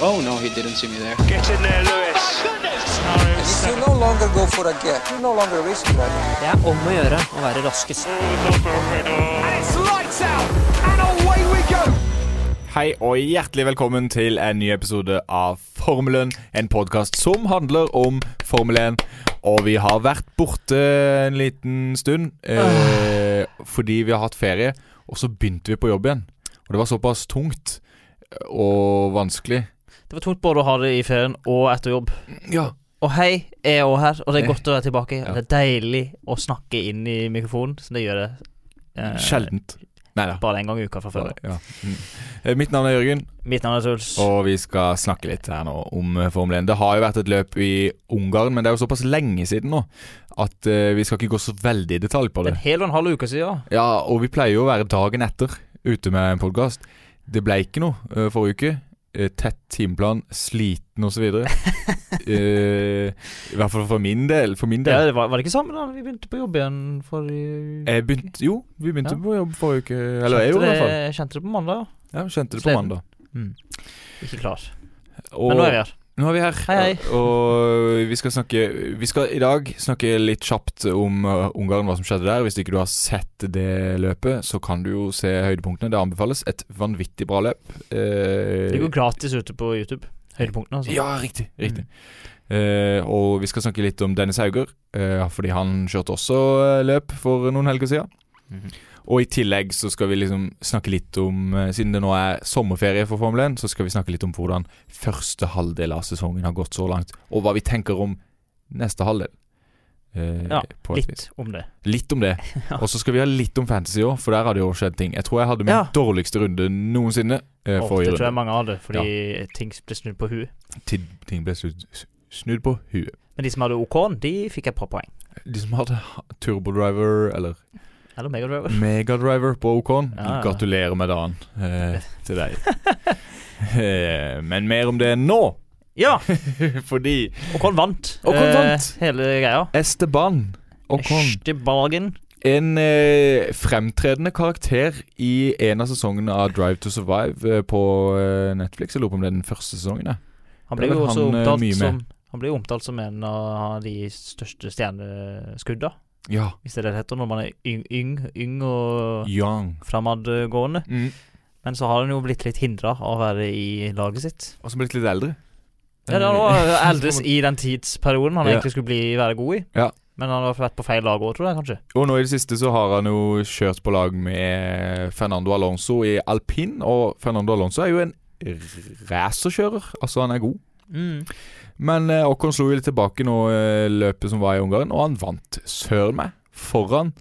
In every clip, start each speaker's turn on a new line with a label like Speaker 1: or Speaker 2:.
Speaker 1: Oh no, he didn't see me there.
Speaker 2: Get in there, Lewis.
Speaker 3: If you no longer go for a gap, you no longer risk that.
Speaker 4: Det er om å gjøre å være raskest.
Speaker 5: Hei og hjertelig velkommen til en ny episode av Formelen. En podkast som handler om Formel 1. Og vi har vært borte en liten stund eh, fordi vi har hatt ferie. Og så begynte vi på jobb igjen. Og det var såpass tungt og vanskelig.
Speaker 4: Det var tungt både å ha det i ferien og etter jobb.
Speaker 5: Ja.
Speaker 4: Og hei, jeg er òg her, og det er
Speaker 5: Hei.
Speaker 4: godt å være tilbake.
Speaker 5: Ja.
Speaker 4: Det er deilig å snakke inn i mikrofonen, så det gjør det eh,
Speaker 5: Sjeldent. Nei da.
Speaker 4: bare en gang i uka fra før.
Speaker 5: Ja. Mm. Eh, Mitt navn er Jørgen,
Speaker 4: Mitt navn er Truls.
Speaker 5: og vi skal snakke litt her nå om eh, Formel 1. Det har jo vært et løp i Ungarn, men det er jo såpass lenge siden nå at eh, vi skal ikke gå så veldig i detalj på
Speaker 4: Det er
Speaker 5: det.
Speaker 4: en hel og en halv uke siden.
Speaker 5: Ja, og vi pleier jo å være dagen etter ute med en podkast. Det ble ikke noe eh, forrige uke. Eh, Tett timeplan, sliten osv. uh, I hvert fall for min del. For min
Speaker 4: Ja,
Speaker 5: del.
Speaker 4: det var, var det ikke sammen da vi begynte på jobb igjen forrige
Speaker 5: Jeg begynte, jo, vi begynte
Speaker 4: Ja.
Speaker 5: på jobb forrige uke. Eller jeg gjorde det, i hvert fall.
Speaker 4: Jeg kjente det på mandag, ja.
Speaker 5: Ja, kjente det på
Speaker 4: Sliten.
Speaker 5: mandag.
Speaker 4: Ikke klar.
Speaker 5: Og
Speaker 4: Men nå er vi her.
Speaker 5: nå er vi her.
Speaker 4: Hei,
Speaker 5: Og vi skal snakke Vi skal i dag snakke litt kjapt om eh, Ungarn, hva som skjedde der. Hvis ikke du har sett det løpet, så kan du jo se høydepunktene. Det anbefales. Et vanvittig bra løp. Uh,
Speaker 4: Det går gratis ute på YouTube. Høydepunktene, altså.
Speaker 5: Ja, riktig. riktig. Eh, og vi skal snakke litt om Dennis Hauger, eh, fordi han kjørte også eh, løp for noen helger siden.
Speaker 4: Mhm.
Speaker 5: Og i tillegg så skal vi liksom snakke litt om eh, Siden det nå er sommerferie for Formel 1, så skal vi snakke litt om hvordan første halvdel av sesongen har gått så langt, og hva vi tenker om neste halvdel. Eh,
Speaker 4: Ja,
Speaker 5: på et vis.
Speaker 4: Litt om det.
Speaker 5: Litt om det.
Speaker 4: Ja.
Speaker 5: Og så skal vi ha litt om fantasy òg, for der har det jo skjedd ting. Jeg tror jeg hadde min
Speaker 4: Ja.
Speaker 5: dårligste runde noensinne. eh,
Speaker 4: Og
Speaker 5: forrige
Speaker 4: det
Speaker 5: runde
Speaker 4: tror jeg mange hadde, fordi ting ble snudd på huet.
Speaker 5: til ting ble snudd, snudd på huet.
Speaker 4: Men de som hadde OK-en, de fikk et par poeng.
Speaker 5: De som hadde turbodriver, eller
Speaker 4: Eller Megadriver.
Speaker 5: megadriver på OK-en,
Speaker 4: Ja, ja.
Speaker 5: gratulerer med dagen eh, til deg. Eh, Men mer om det nå,
Speaker 4: Ja!
Speaker 5: fordi
Speaker 4: Ocon vant.
Speaker 5: Ocon
Speaker 4: eh,
Speaker 5: vant.
Speaker 4: hele greia.
Speaker 5: Esteban Ocon,
Speaker 4: Estebagen.
Speaker 5: en eh, fremtredende karakter i en av sesongene av Drive to Survive eh, på eh, Netflix. Jeg lurer på om det er den første sesongen. jeg.
Speaker 4: Han
Speaker 5: Det
Speaker 4: ble
Speaker 5: er
Speaker 4: jo
Speaker 5: vel
Speaker 4: også
Speaker 5: han, eh,
Speaker 4: omtalt
Speaker 5: mye med.
Speaker 4: som han ble jo omtalt som en av de største stjerneskudda,
Speaker 5: Ja.
Speaker 4: hvis det er det det heter, når man er yng, yng, yng og
Speaker 5: Young.
Speaker 4: framadgående.
Speaker 5: Mm.
Speaker 4: Men så har han jo blitt litt hindra av å være i laget sitt.
Speaker 5: Og så blitt litt eldre.
Speaker 4: Ja, det var eldes i den tidsperioden han
Speaker 5: Eh, Ja.
Speaker 4: egentlig skulle bli, være god i.
Speaker 5: Ja.
Speaker 4: Men han har vært på feil lag òg, tror jeg kanskje.
Speaker 5: Og nå i det siste så har han jo kjørt på lag med Fernando Alonso i alpin, og Fernando Alonso er jo en racerkjører. Altså, han er god. Men eh, Ocon slo jo litt tilbake nå eh, løpet som var i Ungarn, og han vant søren meg foran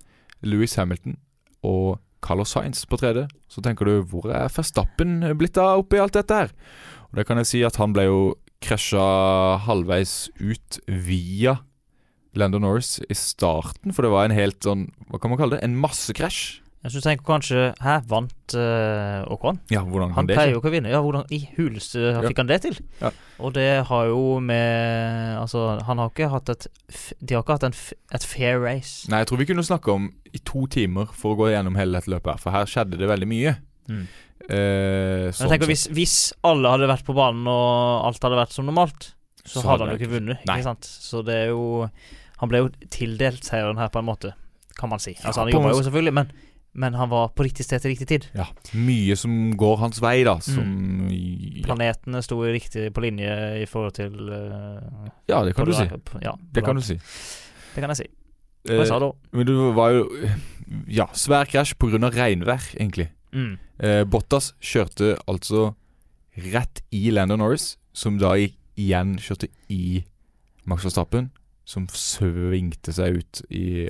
Speaker 5: Louis Hamilton og Carlos Sainz på tredje. Så tenker du, hvor er Verstappen blitt av oppi alt dette her? Og det kan jeg si at han ble jo krasja halvveis ut via Landon Norris i starten, for det var en helt sånn Hva kan man kalle det? En massekrasj.
Speaker 4: Jeg synes, tenker kanskje Hæ, vant eh, Ocon?
Speaker 5: Ja, hvordan
Speaker 4: Han
Speaker 5: kan det
Speaker 4: pleier
Speaker 5: skje?
Speaker 4: jo ikke å vinne. Ja, hvordan i huleste
Speaker 5: Ja.
Speaker 4: fikk han det til?
Speaker 5: Ja.
Speaker 4: Og det har jo med Altså, han har ikke hatt et f- De har ikke hatt en f et fair race.
Speaker 5: Nei, jeg tror vi kunne snakke om i to timer for å gå gjennom hele dette løpet her, for her skjedde det veldig mye.
Speaker 4: Mm. Men
Speaker 5: Eh,
Speaker 4: jeg tenker, hvis,
Speaker 5: sett.
Speaker 4: hvis alle hadde vært på banen, og alt hadde vært som normalt, så,
Speaker 5: Så
Speaker 4: hadde
Speaker 5: hadde
Speaker 4: han jo
Speaker 5: jeg
Speaker 4: ikke vunnet.
Speaker 5: Nei.
Speaker 4: Ikke sant? Så det er jo Han ble jo tildelt seieren her, på en måte, kan man si. Altså, han
Speaker 5: på
Speaker 4: jobba
Speaker 5: en måte.
Speaker 4: jo selvfølgelig, men, men han var på riktig sted til riktig tid.
Speaker 5: Ja, mye som går hans vei,
Speaker 4: Mm.
Speaker 5: da. Som ja.
Speaker 4: Planetene sto riktig på linje i forhold til eh,
Speaker 5: ja, det kan du si.
Speaker 4: polar- Ja,
Speaker 5: Det kan du
Speaker 4: polar-
Speaker 5: si.
Speaker 4: det kan jeg si. Hva jeg
Speaker 5: Eh,
Speaker 4: sa da?
Speaker 5: men du var jo Ja, svær krasj pga. regnvær, egentlig.
Speaker 4: Mm.
Speaker 5: Eh, Bottas kjørte altså rett i Landon Norris, som da gikk igjen kjørte i Max Verstappen, som svingte seg ut i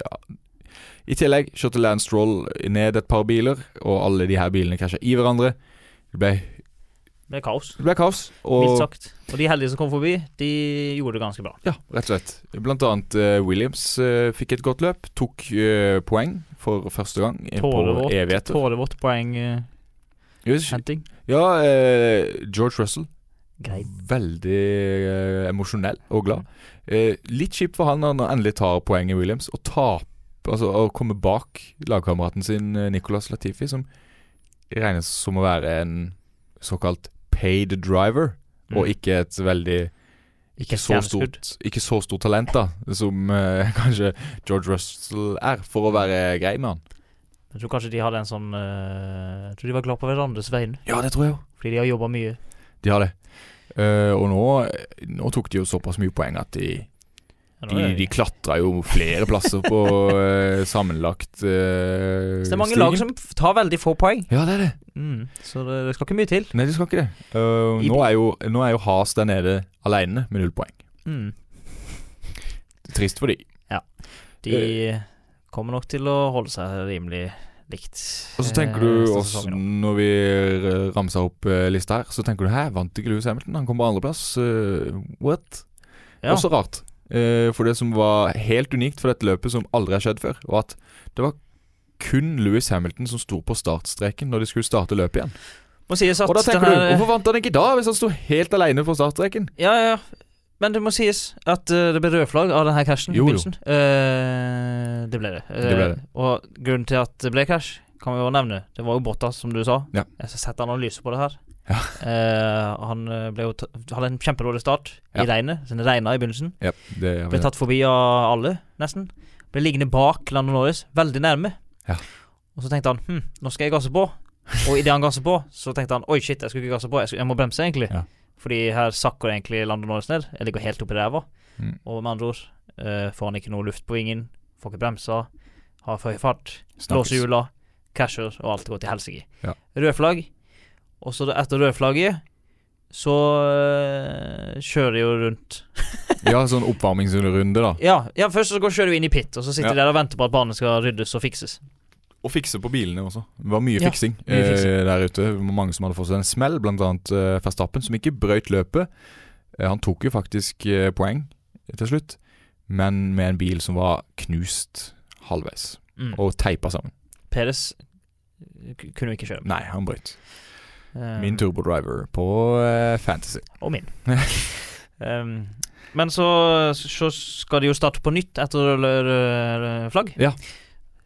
Speaker 5: I tillegg kjørte Lance Stroll ned et par biler, og alle de her bilene krasja i hverandre. Det ble,
Speaker 4: Det er kaos.
Speaker 5: det ble kaos.
Speaker 4: Mildt
Speaker 5: Og
Speaker 4: sagt. Og de heldige som kom forbi, de gjorde det ganske bra.
Speaker 5: Ja, rett og slett. Blant annet eh, Williams eh, fikk et godt løp. Tok eh, poeng for første gang eh, på
Speaker 4: Tårevått.
Speaker 5: evigheter.
Speaker 4: Tårevått poenghenting.
Speaker 5: Yes. Ja, eh, George Russell.
Speaker 4: Greit.
Speaker 5: Veldig eh, emosjonell og glad. Eh, litt kjipt for han når han endelig tar poeng i Williams, og taper Altså å komme bak lagkameraten sin eh, Nicolas Latifi, som regnes som å være en såkalt paid driver. og ikke et veldig
Speaker 4: Mm. Ikke
Speaker 5: ikke
Speaker 4: et
Speaker 5: så,
Speaker 4: stjerneskudd.
Speaker 5: stort, ikke så stort talent, da, som eh, kanskje George Russell er, for å være grei med han.
Speaker 4: Jeg tror kanskje de hadde en sånn eh, Jeg tror de var glad på hverandres vegne,
Speaker 5: Ja, det tror jeg jo.
Speaker 4: fordi de har jobba mye.
Speaker 5: De har det. Eh, og nå, nå tok de jo såpass mye poeng at de,
Speaker 4: Ja, nå
Speaker 5: de,
Speaker 4: er
Speaker 5: de
Speaker 4: det-
Speaker 5: klatra jo flere plasser på eh, sammenlagt eh,
Speaker 4: Så det er mange
Speaker 5: stigen.
Speaker 4: lag som f- tar veldig få poeng,
Speaker 5: Ja, det er det.
Speaker 4: mm. så det, det skal ikke mye til.
Speaker 5: Nei, de skal ikke det. Eh,
Speaker 4: I-
Speaker 5: nå, er jo, nå er jo Haas der nede aleine med null poeng.
Speaker 4: Mm.
Speaker 5: Trist for de.
Speaker 4: De
Speaker 5: Eh.
Speaker 4: kommer nok til å holde seg rimelig likt.
Speaker 5: Og så tenker
Speaker 4: eh,
Speaker 5: du
Speaker 4: resten av
Speaker 5: også,
Speaker 4: sesongen nå.
Speaker 5: når vi eh, ramser opp eh, lista her, så tenker du hæ, vant ikke Lewis Hamilton? Han kom på andreplass. Uh, what?
Speaker 4: Ja.
Speaker 5: Også rart. Eh, for det som var helt unikt for dette løpet, som aldri har skjedd før, var at det var kun Lewis Hamilton som sto på startstreken når de skulle starte løpet igjen.
Speaker 4: Må sies at
Speaker 5: Og da tenker
Speaker 4: den
Speaker 5: du,
Speaker 4: her-
Speaker 5: hvorfor vant han ikke da, hvis han sto helt alene på startstreken?
Speaker 4: Ja, ja, ja. Men det må sies at eh, det ble rød flagg av denne cashen. i
Speaker 5: Jo, jo.
Speaker 4: begynnelsen. Eh, det ble det. Eh,
Speaker 5: Det ble det.
Speaker 4: Og grunnen til at det ble cash, kan vi jo nevne. Det var jo Bottas, som du sa.
Speaker 5: Ja.
Speaker 4: Jeg har sett analyse på det her.
Speaker 5: Ja.
Speaker 4: Eh, han eh, ble jo ta hadde en kjempedårlig start i
Speaker 5: Ja.
Speaker 4: regnet. Så det regna i begynnelsen.
Speaker 5: Ja, det er
Speaker 4: Ble
Speaker 5: vel
Speaker 4: tatt forbi av alle, nesten. Ble liggende bak Lando Norris, veldig nærme.
Speaker 5: Ja.
Speaker 4: Og så tenkte han hm, nå skal jeg gasse på. Og idet han gasser på, så tenkte han oi, shit, jeg skulle ikke gasse på, jeg, skulle, jeg må bremse, egentlig.
Speaker 5: Ja.
Speaker 4: Fordi her sakker egentlig Lando Norris ned. Jeg ligger helt oppi ræva.
Speaker 5: Mm.
Speaker 4: Og med andre ord eh, får han ikke noe luft på vingen, får ikke bremsa, har for høy fart,
Speaker 5: snakkes.
Speaker 4: blåser hjula, casher, og alt går til helsike.
Speaker 5: Ja.
Speaker 4: Rød flagg. Og så da- etter rødflagget så eh, kjører de jo rundt
Speaker 5: Ja, sånn oppvarmingsrunde, da.
Speaker 4: ja, ja, først så går kjører du inn i pit, og så sitter
Speaker 5: Ja.
Speaker 4: de der og venter på at banen skal ryddes og fikses.
Speaker 5: Og fikse på bilene også. Det var mye
Speaker 4: Ja,
Speaker 5: fiksing
Speaker 4: mye fiksing.
Speaker 5: eh, der ute. Det var Mange som hadde fått seg en smell, bl.a. Eh, Verstappen, som ikke brøyt løpet. Eh, han tok jo faktisk eh, poeng til slutt, men med en bil som var knust halvveis,
Speaker 4: Mm.
Speaker 5: og teipa sammen.
Speaker 4: Peres eh, k- kunne jo ikke kjøre.
Speaker 5: Nei, han brøyt.
Speaker 4: Eh,
Speaker 5: Min turbodriver på eh, Fantasy.
Speaker 4: Og min. Ehm, men så, så skal de jo starte på nytt etter rød- rød- rød flagg.
Speaker 5: Ja.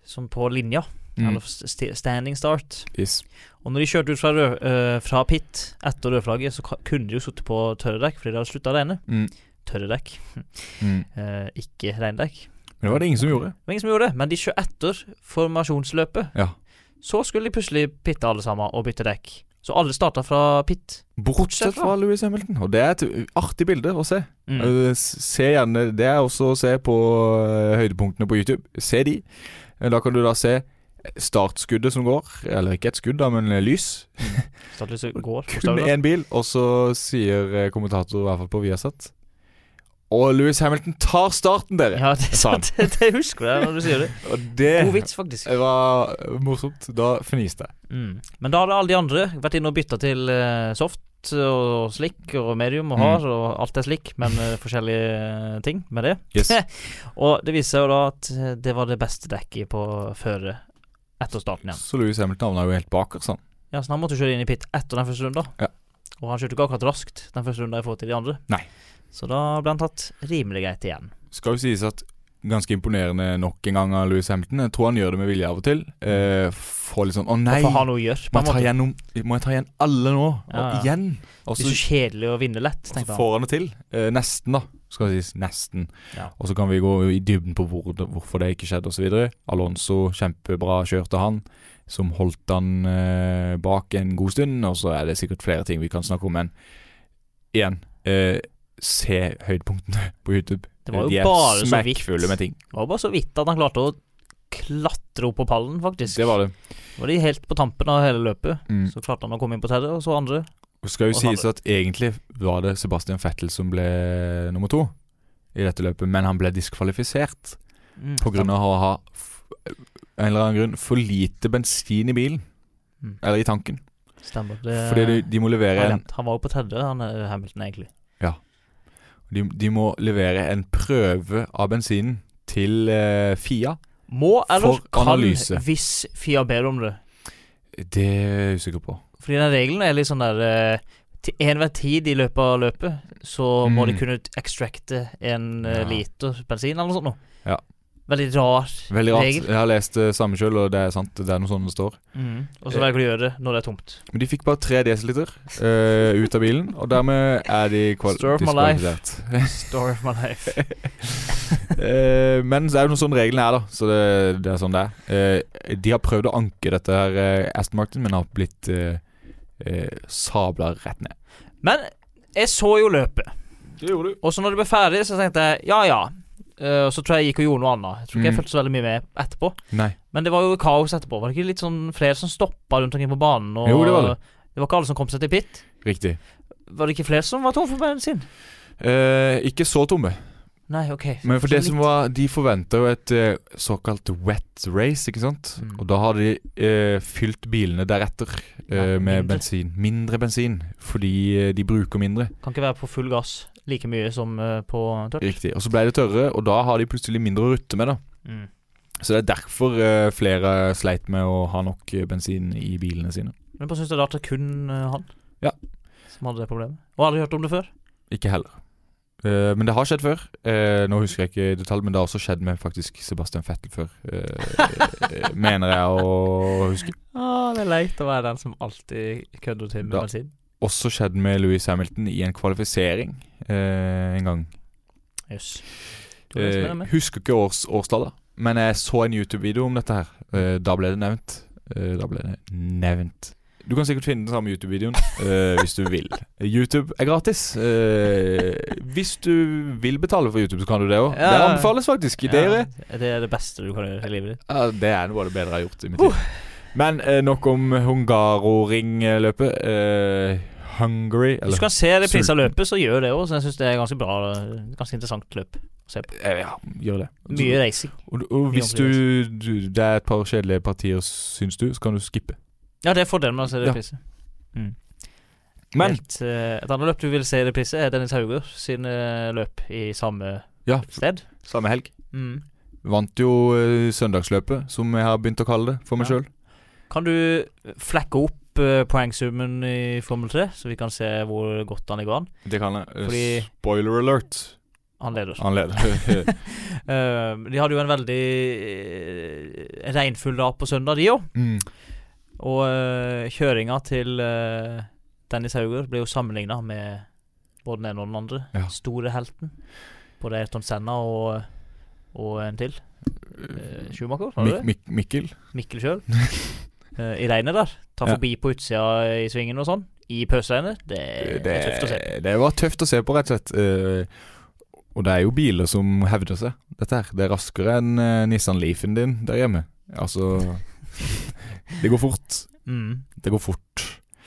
Speaker 4: Som på linja,
Speaker 5: Mm.
Speaker 4: eller st standing start.
Speaker 5: Yes.
Speaker 4: Og når de kjørte ut fra, rød, eh, fra pit etter rødflagget, så ka- kunne de jo sittet på tørre dekk, fordi de hadde slutta å regne.
Speaker 5: Mm.
Speaker 4: Tørre dekk,
Speaker 5: Mm.
Speaker 4: eh, ikke regndekk.
Speaker 5: Men det var det ingen som gjorde.
Speaker 4: Det var ingen som gjorde det, men de kjørte etter formasjonsløpet.
Speaker 5: Ja.
Speaker 4: Så skulle de plutselig pitte alle sammen og bytte dekk. Så alle starta fra pit.
Speaker 5: Bortsett fra Louis Hamilton. Og det er et artig bilde å se.
Speaker 4: Mm.
Speaker 5: Eh, s- Se gjerne Det er også å se på eh, høydepunktene på YouTube. Se de. Eh, Da kan du da se startskuddet som går. Eller ikke et skudd, da, men eh, lys.
Speaker 4: Startlyset går.
Speaker 5: Kun
Speaker 4: bokstavelig talt.
Speaker 5: én bil. Og så sier eh, kommentator, i hvert fall på Viasat Og Louis Hamilton tar starten, dere!
Speaker 4: Ja, det,
Speaker 5: Sa han.
Speaker 4: det, det husker jeg når du sier det.
Speaker 5: Og det
Speaker 4: God vits, faktisk.
Speaker 5: var morsomt. Da fniste jeg.
Speaker 4: Mm. Men da hadde alle de andre vært inne og bytta til eh, soft og slick og medium og
Speaker 5: Mm.
Speaker 4: hard, og alt er slick, men eh, forskjellige eh, ting med det.
Speaker 5: Yes.
Speaker 4: Og det viser seg jo da at eh, det var det beste dekket på føre etter starten igjen.
Speaker 5: Så Louis Hamilton havna jo helt bakerst, han.
Speaker 4: Ja, så han måtte kjøre inn i pit etter den første runden.
Speaker 5: Ja.
Speaker 4: Og han kjørte ikke akkurat raskt den første runden i forhold til de andre.
Speaker 5: Nei.
Speaker 4: Så da ble han tatt rimelig greit igjen.
Speaker 5: Skal jo sies at ganske imponerende nok en gang av Louis Hamilton. Jeg tror han gjør det med vilje av og til. Eh, får litt sånn 'Å nei,
Speaker 4: Og for å ha noe å gjøre. på
Speaker 5: må
Speaker 4: en
Speaker 5: jeg, ta
Speaker 4: måte.
Speaker 5: gjennom, må jeg ta igjen alle nå?'
Speaker 4: Ja, ja.
Speaker 5: Og igjen. Og
Speaker 4: Det
Speaker 5: så,
Speaker 4: er så kjedelig å vinne lett,
Speaker 5: og så
Speaker 4: tenkte han.
Speaker 5: får han det til. Eh, nesten, da. Skal det sies. Nesten.
Speaker 4: Ja.
Speaker 5: Og så kan vi gå i dybden på hvor, det- hvorfor det ikke skjedde, osv. Alonso, kjempebra kjørte han. Som holdt han eh, bak en god stund. Og så er det sikkert flere ting vi kan snakke om, men igjen eh, Se høydepunktene på YouTube.
Speaker 4: Det var jo
Speaker 5: De er
Speaker 4: bare så vidt.
Speaker 5: smekkfulle med ting.
Speaker 4: Det var bare så vidt at han klarte å klatre opp på pallen, faktisk.
Speaker 5: Det var det.
Speaker 4: Var de helt på tampen av hele løpet,
Speaker 5: Mm.
Speaker 4: så klarte han å komme inn på tredje, og så andre.
Speaker 5: Det skal jo
Speaker 4: Og
Speaker 5: sies
Speaker 4: Hamlet.
Speaker 5: at egentlig var det Sebastian Vettel som ble nummer to i dette løpet, men han ble diskvalifisert
Speaker 4: Mm.
Speaker 5: pga. å ha f- en eller annen grunn for lite bensin i bilen.
Speaker 4: Mm.
Speaker 5: Eller i tanken.
Speaker 4: Stemmer. Det,
Speaker 5: Fordi de, de må levere en
Speaker 4: han, han var jo på tredje, han eh, Hamilton, egentlig.
Speaker 5: de, de må levere en prøve av bensinen til eh, FIA.
Speaker 4: Må eller
Speaker 5: For
Speaker 4: kan
Speaker 5: analyse.
Speaker 4: hvis Fia ber om det?
Speaker 5: Det er jeg usikker på.
Speaker 4: Fordi den regelen er litt sånn der eh, Til enhver tid i løpet av løpet Så må
Speaker 5: Mm.
Speaker 4: de kunne ekstrakte en eh,
Speaker 5: Ja.
Speaker 4: liter bensin eller noe sånt nå
Speaker 5: Ja.
Speaker 4: Veldig rar.
Speaker 5: Veldig rart.
Speaker 4: Regel.
Speaker 5: Jeg har lest det samme sjøl, og det er sant. Det er noe sånn det står.
Speaker 4: Mm. Og så velger du å gjøre det når det er tomt.
Speaker 5: Men de fikk bare 3 dl eh, ut av bilen, og dermed er de kval
Speaker 4: Story of my life.
Speaker 5: diskvalifisert.
Speaker 4: Story of my life.
Speaker 5: Eh, men så er det noen sånne reglene her, da. Så det, det er sånn det er. Eh, de har prøvd å anke dette her eh, Aston Martin, men har blitt uh, sabla rett ned.
Speaker 4: Men jeg så jo løpet,
Speaker 5: Det gjorde du.
Speaker 4: og så når det ble ferdig, så tenkte jeg ja ja. Eh, og så tror jeg jeg gikk og gjorde noe annet. Jeg tror ikke jeg
Speaker 5: Mm.
Speaker 4: fulgte så veldig mye med etterpå.
Speaker 5: Nei.
Speaker 4: Men det var jo kaos etterpå. Var det ikke litt sånn flere som stoppa rundt omkring på banen? Og
Speaker 5: Jo, det var det.
Speaker 4: Det var ikke alle som kom seg til pit?
Speaker 5: Riktig.
Speaker 4: Var det ikke flere som var tom for bensin?
Speaker 5: Eh, ikke så tomme.
Speaker 4: Nei, ok.
Speaker 5: Men for
Speaker 4: Så
Speaker 5: det som
Speaker 4: litt-
Speaker 5: var De forventa jo et eh, såkalt wet race, ikke sant?
Speaker 4: Mm.
Speaker 5: Og da har de eh, fylt bilene deretter eh,
Speaker 4: Ja,
Speaker 5: med
Speaker 4: mindre.
Speaker 5: bensin. Mindre bensin, fordi eh, de bruker mindre.
Speaker 4: Kan ikke være på full gass like mye som eh, på tørt.
Speaker 5: Riktig. Og så ble det tørre, og da har de plutselig mindre å rutte med, da.
Speaker 4: Mm.
Speaker 5: Så det er derfor eh, flere sleit med å ha nok eh, bensin i bilene sine.
Speaker 4: Men jeg bare syns det er rart at det kun eh, han
Speaker 5: Ja.
Speaker 4: som hadde det problemet. Og aldri hørt om det før.
Speaker 5: Ikke heller. Eh, men det har skjedd før. Eh, nå husker jeg ikke i detalj, men det har også skjedd med faktisk Sebastian Fettel før. eh, eh, mener jeg å huske.
Speaker 4: Ah, det er leit å være den som alltid kødder til med
Speaker 5: Da.
Speaker 4: bensin.
Speaker 5: Også skjedd med Louis Hamilton i en kvalifisering eh, en gang.
Speaker 4: Jøss.
Speaker 5: Eh, husker ikke års, årstallet, men jeg så en YouTube-video om dette her. Eh, da ble det nevnt. Eh, da ble det nevnt. Du kan sikkert finne den samme YouTube-videoen eh, hvis du vil. YouTube er gratis. Eh, hvis du vil betale for YouTube, så kan du det òg.
Speaker 4: Ja.
Speaker 5: Det anbefales faktisk. i Dere
Speaker 4: Det er det beste du kan gjøre i livet ditt.
Speaker 5: ja, det er noe av det bedre jeg har gjort i mitt
Speaker 4: Uh.
Speaker 5: liv. Men eh, nok om Hungaroring-løpet. Eh, Hungary
Speaker 4: Hvis
Speaker 5: eller
Speaker 4: du kan se det prisa
Speaker 5: sulten.
Speaker 4: løpet, så gjør det òg. Så jeg syns det er ganske bra eh, Ganske interessant løp.
Speaker 5: Eh, Ja, gjør det.
Speaker 4: Mye racing.
Speaker 5: Og, og hvis du, du det er et par kjedelige partier, syns du, så kan du skippe.
Speaker 4: Ja, det er fordelen med å se
Speaker 5: Ja.
Speaker 4: reprise.
Speaker 5: Men
Speaker 4: Helt, eh, et annet løp du vil se i reprise, er Dennis Hauger sin eh, løp i samme
Speaker 5: Ja.
Speaker 4: sted.
Speaker 5: Samme helg.
Speaker 4: Mm.
Speaker 5: Vant jo eh, søndagsløpet, som jeg har begynt å kalle det for meg
Speaker 4: Ja.
Speaker 5: sjøl.
Speaker 4: Kan du flekke opp eh, poengsummen i Formel 3, så vi kan se hvor godt han ligger an?
Speaker 5: Det kan jeg. Eh,
Speaker 4: Fordi-
Speaker 5: Spoiler alert.
Speaker 4: Han leder.
Speaker 5: Han leder.
Speaker 4: Eh, de hadde jo en veldig eh, regnfull dag på søndag, de òg.
Speaker 5: mm.
Speaker 4: Og uh, kjøringa til eh, Dennis Hauger ble jo sammenligna med både den ene og den andre.
Speaker 5: Ja.
Speaker 4: Store helten. Både Ayrton Senna og, og en til. Eh, Schumacher, var det
Speaker 5: Mik Mik Mikkel.
Speaker 4: det? Mikkel sjøl. I regnet der. Ta
Speaker 5: Ja.
Speaker 4: forbi på utsida i svingen og sånn. I pøsregnet. Det, Eh, det er tøft å se.
Speaker 5: det var tøft å se på, rett og slett. Eh, og det er jo biler som hevder seg, dette her. Det er raskere enn eh, Nissan Leafen din der hjemme. Altså Det går fort.
Speaker 4: Mm.
Speaker 5: Det går fort.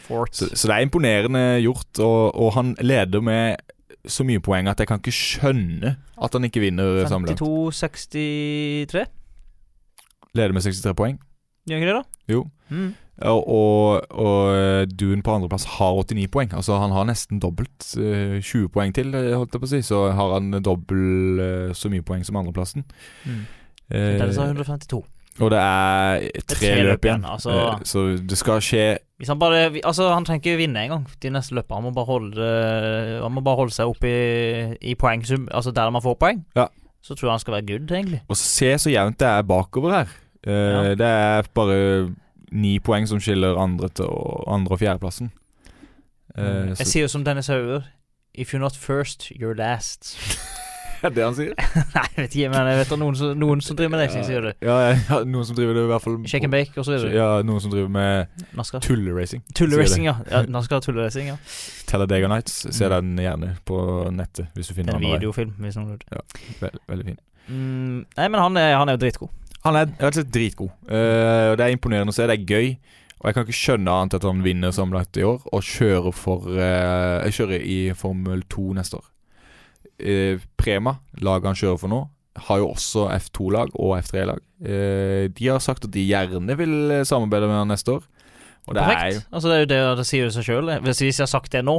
Speaker 4: Fort.
Speaker 5: Så, så det er imponerende gjort, og, og han leder med så mye poeng at jeg kan ikke skjønne at han ikke vinner sammenlagt.
Speaker 4: 52-63.
Speaker 5: Leder med 63 poeng.
Speaker 4: Gjør ikke det, da?
Speaker 5: Jo.
Speaker 4: Mm.
Speaker 5: Og, og, og Duen på andreplass har 89 poeng. Altså Han har nesten dobbelt. eh, 20 poeng til, eh, holdt jeg på å si. Så har han dobbelt eh, så mye poeng som andreplassen.
Speaker 4: Mm.
Speaker 5: Eh,
Speaker 4: Dennis har 152.
Speaker 5: og det er tre, løp igjen.
Speaker 4: altså.
Speaker 5: Eh, så det skal skje
Speaker 4: Hvis han bare vi- Altså, han trenger ikke vinne engang de neste løpene. Han må bare holde Han må bare holde seg oppe i, i poengsum, altså der man får poeng.
Speaker 5: Ja.
Speaker 4: Så tror jeg han skal være good, egentlig.
Speaker 5: Og se så jevnt det er bakover her. Eh, Det er bare ni poeng som skiller andre, til, og, andre og fjerdeplassen. Eh,
Speaker 4: Mm. Jeg
Speaker 5: så,
Speaker 4: sier jo som Dennis Hauger If you're not first, you're last.
Speaker 5: er det han sier?
Speaker 4: Nei, jeg vet ikke, men jeg vet at noen, som- noen som driver med racing, sier det.
Speaker 5: Ja, ja, ja, noen som driver det i hvert fall
Speaker 4: Shake and bake, og så videre.
Speaker 5: Ja, noen som driver med
Speaker 4: Naska.
Speaker 5: tulleracing.
Speaker 4: Tulleracing, ja. ja Naska tulleracing, ja.
Speaker 5: Talladega Nights. Se den gjerne på nettet hvis du
Speaker 4: Det
Speaker 5: finner
Speaker 4: er en
Speaker 5: den. andre veien.
Speaker 4: videofilm, hvis noen lurer.
Speaker 5: Vel- veldig fin.
Speaker 4: Mm, nei, men han er, han er jo dritgod.
Speaker 5: Han er rett og slett dritgod. Eh, og det er imponerende å se. Det er gøy. Og jeg kan ikke skjønne annet at han vinner sammenlagt i år og kjører, for, eh, jeg kjører i Formel 2 neste år. Eh, Prema, laget han kjører for nå, har jo også F2-lag og F3-lag. Eh, de har sagt at de gjerne vil eh, samarbeide med han neste år. Og det er jo
Speaker 4: Perfekt. Altså, det er jo det det sier jo seg sjøl. Hvis hvis jeg har sagt det nå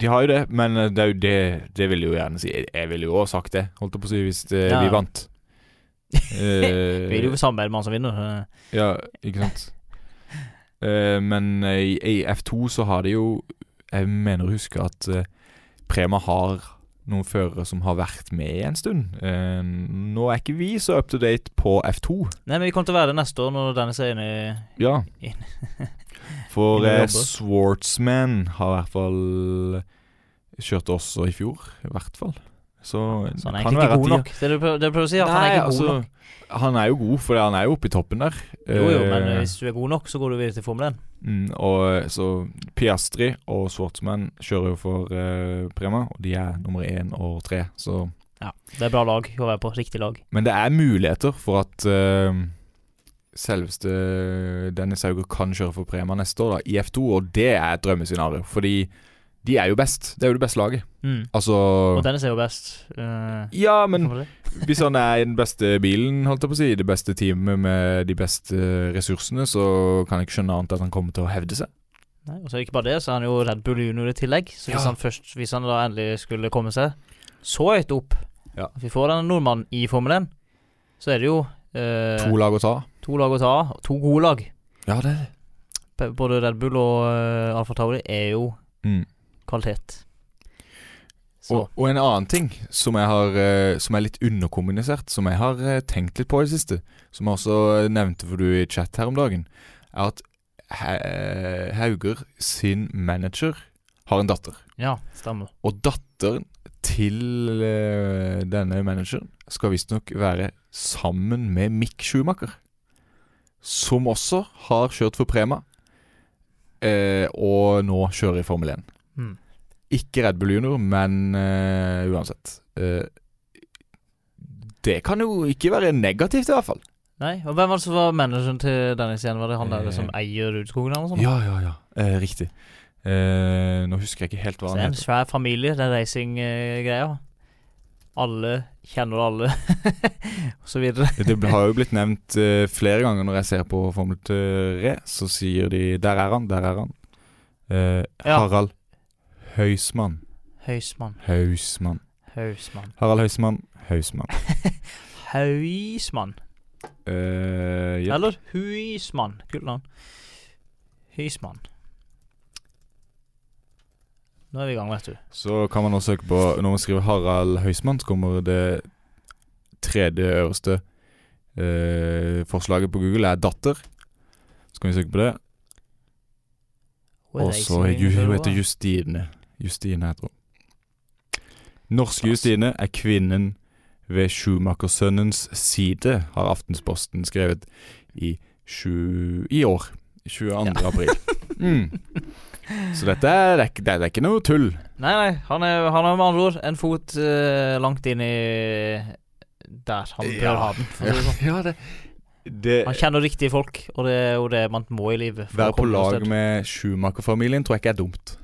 Speaker 5: De har jo det, men eh, det er jo det Det vil jeg jo gjerne si. Jeg- Jeg ville jo òg sagt det, holdt jeg på å si, hvis det,
Speaker 4: Ja.
Speaker 5: vi vant. Eh,
Speaker 4: Vil jo samarbeide med han som vinner. eh.
Speaker 5: Ja, ikke sant. Eh, men eh, i i F2 så har de jo Jeg mener å huske at eh, Prema har noen førere som har vært med en stund. Eh, nå er ikke vi så up to date på F2.
Speaker 4: Nei, men vi kommer til å være det neste år når Dennis er inne i
Speaker 5: Ja.
Speaker 4: In-
Speaker 5: For
Speaker 4: Inne og
Speaker 5: eh,
Speaker 4: jobber.
Speaker 5: Swartzman har i hvert fall eh, kjørt også i fjor, i hvert fall. Så, eh,
Speaker 4: Så han er sånn, egentlig
Speaker 5: kan
Speaker 4: ikke
Speaker 5: være at
Speaker 4: god
Speaker 5: de-
Speaker 4: nok. Det du prøver, det du prøver å si, er at han er
Speaker 5: Nei,
Speaker 4: ikke god
Speaker 5: altså,
Speaker 4: nok.
Speaker 5: Han er jo god, for han er jo oppe i toppen der.
Speaker 4: Jo, jo, men
Speaker 5: Eh,
Speaker 4: hvis du er god nok, så går du videre til Formel 1.
Speaker 5: mm, og så Piastri og Swartzman kjører jo for eh, Prema, og de er nummer én og tre, så
Speaker 4: Ja, det er bra lag å være på. Riktig lag.
Speaker 5: Men det er muligheter for at eh, selveste Dennis Hauger kan kjøre for Prema neste år da, i F2, og det er et drømmescenario. Fordi de er jo best. Det er jo det beste laget.
Speaker 4: Mm. Og
Speaker 5: Altså
Speaker 4: Dennis er jo best. eh,
Speaker 5: Ja, men
Speaker 4: kan man si.
Speaker 5: hvis han er i den beste bilen, holdt jeg på å si, i det beste teamet med de beste ressursene, så kan jeg ikke skjønne annet at han kommer til å hevde seg.
Speaker 4: Nei, og så er det ikke bare det, så er han jo Red Bull Junior i tillegg. Så hvis
Speaker 5: Ja.
Speaker 4: han først Hvis han da endelig skulle komme seg så høyt opp
Speaker 5: Ja.
Speaker 4: at vi får en nordmann i Formel 1, så er det jo eh,
Speaker 5: To lag å ta.
Speaker 4: to lag å ta av. og To gode lag.
Speaker 5: Ja, det er det.
Speaker 4: B- Både Red Bull og eh, Alfa Tauri er jo
Speaker 5: Mm.
Speaker 4: kvalitet. Så
Speaker 5: Og, og en annen ting som, jeg har, eh, som er litt underkommunisert, som jeg har eh, tenkt litt på i det siste, som jeg også eh, nevnte for du i chat her om dagen, er at Ha- Hauger sin manager har en datter.
Speaker 4: Ja, stemmer.
Speaker 5: Og datteren til eh, denne manageren skal visstnok være sammen med Mick Schumacher. Som også har kjørt for Prema, eh, og nå kjører i Formel 1.
Speaker 4: Mm.
Speaker 5: Ikke Red Bull Junior, men eh, uansett. Eh, det kan jo ikke være negativt, i hvert fall.
Speaker 4: Nei, og hvem var det som var manageren til Dennis igjen? Var det han der
Speaker 5: Eh,
Speaker 4: som eier Rudskogen eller noe sånt?
Speaker 5: Ja, ja, ja. Eh, riktig. Eh, nå husker jeg ikke helt hva
Speaker 4: Så det
Speaker 5: han
Speaker 4: er en
Speaker 5: heter.
Speaker 4: svær familie, den racing-greia. Alle kjenner alle, og så videre.
Speaker 5: Det ble- har jo blitt nevnt eh, flere ganger når jeg ser på Formel 3, så sier de 'der er han, der er han'. Eh,
Speaker 4: Ja.
Speaker 5: Harald Høismann.
Speaker 4: Høismann,
Speaker 5: Hausmann.
Speaker 4: Høismann,
Speaker 5: Harald Høismann. Hausmann.
Speaker 4: Høismann.
Speaker 5: Eh, ja.
Speaker 4: Eller Huismann. Kult navn. Høismann. Nå er vi i gang, vet du.
Speaker 5: Så kan man også søke på Når man skriver Harald Høismann, så kommer det tredje øverste eh, forslaget på Google er datter. Så kan vi søke på det.
Speaker 4: Hun er
Speaker 5: Og så
Speaker 4: racing-
Speaker 5: ju- hun heter
Speaker 4: fører.
Speaker 5: Justine. Justine heter hun. Norske Justine er kvinnen ved Schumacher-sønnens side, har Aftensposten skrevet i, sju, i år. 22. april. Mm. Så dette er, det er, ikke- det er ikke noe tull.
Speaker 4: Nei, nei, han er, han er med andre ord en fot eh, langt inn i der han bør
Speaker 5: Ja.
Speaker 4: ha den. For å si det sånn.
Speaker 5: Ja, det, det
Speaker 4: Han kjenner riktige folk, og det er jo det man må i livet. for å
Speaker 5: Være på
Speaker 4: komme noe
Speaker 5: lag
Speaker 4: sted.
Speaker 5: med Schumacher-familien tror jeg ikke er dumt.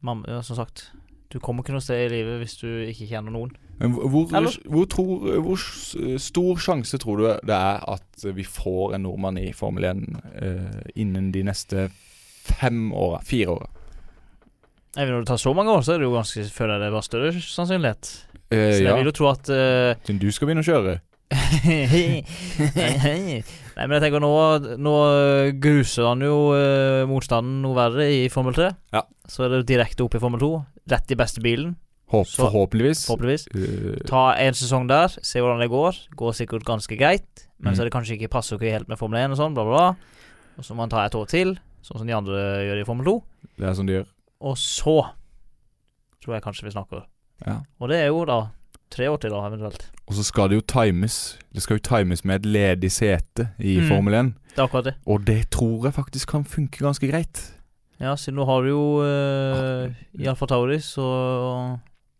Speaker 4: Man, ja, Som sagt, du kommer ikke noe sted i livet hvis du ikke kjenner noen.
Speaker 5: Men hvor, hvor,
Speaker 4: Eller?
Speaker 5: hvor, tror, hvor s- stor sjanse tror du det er at vi får en nordmann i Formel 1 eh, innen de neste fem åra? Fire åra?
Speaker 4: Nei, men Når det tar så mange år, så er det jo ganske, føler jeg det var større sannsynlighet. Så
Speaker 5: Eh,
Speaker 4: jeg
Speaker 5: ja,
Speaker 4: vil jo tro at eh,
Speaker 5: siden du skal begynne å kjøre.
Speaker 4: Nei, men jeg tenker nå Nå gruser han jo eh, motstanden noe verre i Formel 3.
Speaker 5: Ja.
Speaker 4: Så er det direkte opp i Formel 2. Rett i beste bilen,
Speaker 5: Håp,
Speaker 4: Så-
Speaker 5: forhåpentligvis.
Speaker 4: forhåpentligvis.
Speaker 5: Eh,
Speaker 4: Ta en sesong der, se hvordan det går. Går sikkert ganske greit, men
Speaker 5: Mm.
Speaker 4: så er det kanskje ikke passer ikke helt med Formel 1 og sånn, bla, bla, bla. Og så må han ta et år til, sånn som de andre gjør i Formel 2.
Speaker 5: det er sånn de gjør.
Speaker 4: Og så tror jeg kanskje vi snakker.
Speaker 5: Ja.
Speaker 4: Og det er jo da tre år til, da, eventuelt.
Speaker 5: Og så skal det jo times. Det skal jo times med et ledig sete i
Speaker 4: Mm.
Speaker 5: Formel 1.
Speaker 4: Det er akkurat det.
Speaker 5: Og det tror jeg faktisk kan funke ganske greit.
Speaker 4: Ja, siden nå har du jo uh, Alfa Tauri, så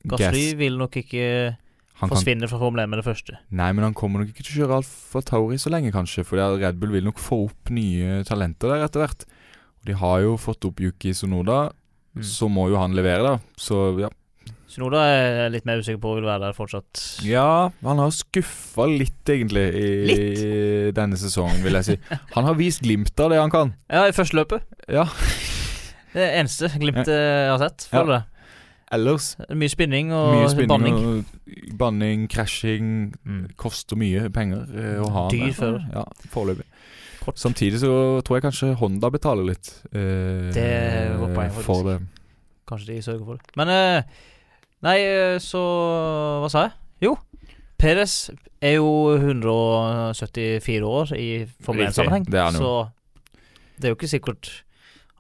Speaker 4: Gasly vil nok ikke
Speaker 5: han kan
Speaker 4: forsvinne fra Formel 1 med det første.
Speaker 5: Nei, men han kommer nok ikke til å kjøre Alfa Tauri så lenge, kanskje. For Red Bull vil nok få opp nye talenter der etter hvert. Og De har jo fått opp Yuki Sonoda,
Speaker 4: Mm.
Speaker 5: så må jo han levere, da. Så ja.
Speaker 4: Sunoda er jeg litt mer usikker på vil være der fortsatt.
Speaker 5: Ja, han har skuffa litt, egentlig, i denne sesongen, vil jeg si. Han har vist glimt av det han kan.
Speaker 4: Ja, i første løpet.
Speaker 5: Ja.
Speaker 4: Det er eneste Glimt jeg har sett.
Speaker 5: Ja.
Speaker 4: Føler det.
Speaker 5: Ellers
Speaker 4: Det er Mye spinning og
Speaker 5: mye spinning
Speaker 4: banning.
Speaker 5: og banning, krasjing.
Speaker 4: Mm.
Speaker 5: Koster mye penger eh, å ha han
Speaker 4: Dyr
Speaker 5: der.
Speaker 4: fører.
Speaker 5: Ja, foreløpig.
Speaker 4: Kort.
Speaker 5: Samtidig så tror jeg kanskje Honda betaler litt eh,
Speaker 4: Det var poenget,
Speaker 5: for det.
Speaker 4: Kanskje de sørger for det. Men eh, Nei, eh, så Hva sa jeg? Jo. Perez er jo 174 år i
Speaker 5: Riktig,
Speaker 4: formell sammenheng,
Speaker 5: det er han jo.
Speaker 4: så det er jo ikke sikkert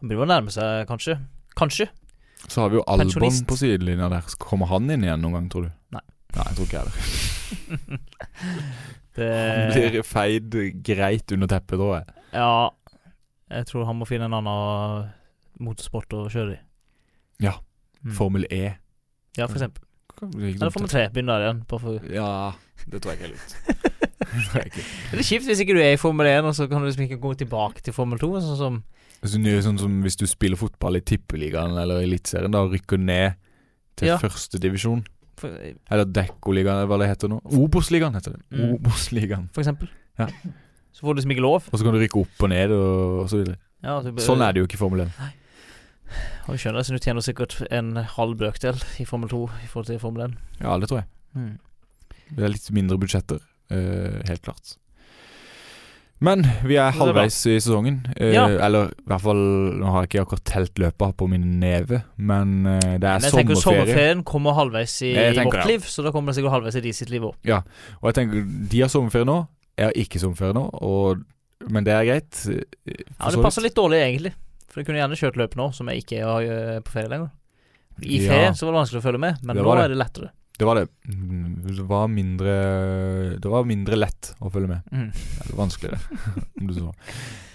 Speaker 4: Han begynner å nærme seg, kanskje. Kanskje.
Speaker 5: Så har vi jo Albon
Speaker 4: Pensjonist.
Speaker 5: på sidelinja der. Kommer han inn igjen noen gang, tror du?
Speaker 4: Nei.
Speaker 5: Nei, jeg tror ikke jeg det.
Speaker 4: Det
Speaker 5: Han blir feid greit under teppet, tror jeg.
Speaker 4: Ja. Jeg tror han må finne en annen motorsport å kjøre i.
Speaker 5: Ja.
Speaker 4: Mm.
Speaker 5: Formel E.
Speaker 4: Ja, for eksempel. Eller Formel
Speaker 5: Ja,
Speaker 4: 3. Begynn der igjen. Bare for
Speaker 5: det tror jeg ikke er lurt. Det tror jeg ikke.
Speaker 4: Det er litt kjipt hvis ikke du er i Formel 1, og så kan du liksom ikke gå tilbake til Formel 2. Sånn som
Speaker 5: Altså, det er jo sånn som hvis du spiller fotball i Tippeligaen eller Eliteserien, da rykker du ned til
Speaker 4: Ja.
Speaker 5: førstedivisjon.
Speaker 4: For,
Speaker 5: Eller Dekkoligaen, eller hva det heter nå. Obos-ligaen heter det.
Speaker 4: Mm.
Speaker 5: Obos-ligaen.
Speaker 4: for eksempel.
Speaker 5: Ja.
Speaker 4: Så får du liksom ikke lov.
Speaker 5: Og så kan du rykke opp og ned og, og så videre.
Speaker 4: Ja, du,
Speaker 5: Sånn er det jo ikke i Formel 1.
Speaker 4: Og jeg skjønner, så du tjener sikkert en halv brøkdel i Formel 2 i forhold til Formel 1.
Speaker 5: Ja, det tror jeg.
Speaker 4: Mm.
Speaker 5: Det er litt mindre budsjetter, eh, helt klart. Men vi er
Speaker 4: Så det er bra.
Speaker 5: halvveis i sesongen. eh,
Speaker 4: Ja.
Speaker 5: Eller i hvert fall Nå har jeg ikke akkurat telt løpet på min neve, men eh, det er
Speaker 4: Men jeg tenker jo
Speaker 5: sommerferie.
Speaker 4: sommerferien kommer halvveis i,
Speaker 5: Jeg
Speaker 4: i
Speaker 5: tenker
Speaker 4: vårt
Speaker 5: det.
Speaker 4: liv, så da kommer det sikkert halvveis i de sitt liv òg.
Speaker 5: Og jeg tenker, De har sommerferie nå, jeg har ikke sommerferie nå, og, men det er greit. eh,
Speaker 4: Ja,
Speaker 5: for
Speaker 4: det
Speaker 5: så
Speaker 4: passer litt dårlig, egentlig. For jeg kunne gjerne kjørt løp nå, som jeg ikke har eh, på ferie lenger. I
Speaker 5: Ja.
Speaker 4: ferie så var det vanskelig å følge med, men
Speaker 5: Det
Speaker 4: nå
Speaker 5: var det.
Speaker 4: er det lettere.
Speaker 5: Det var det. Mm, Det var mindre Det var mindre lett å følge med.
Speaker 4: Mm.
Speaker 5: Eller vanskeligere, om du så.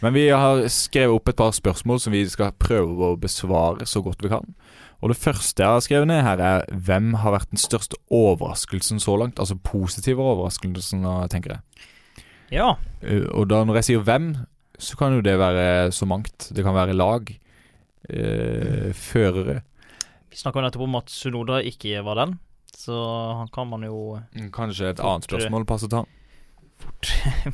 Speaker 5: Men vi har skrevet opp et par spørsmål som vi skal prøve å besvare så godt vi kan. Og det første jeg har skrevet ned her, er hvem har vært den største overraskelsen så langt? Altså positive overraskelsen, da, tenker jeg.
Speaker 4: Ja.
Speaker 5: Eh, Og da når jeg sier hvem, så kan jo det være så mangt. Det kan være lag, eh, førere
Speaker 4: Vi snakka nettopp om at Sunoda ikke var den, så han kan man jo
Speaker 5: Kanskje et annet
Speaker 4: Fortere.
Speaker 5: spørsmål passer til han.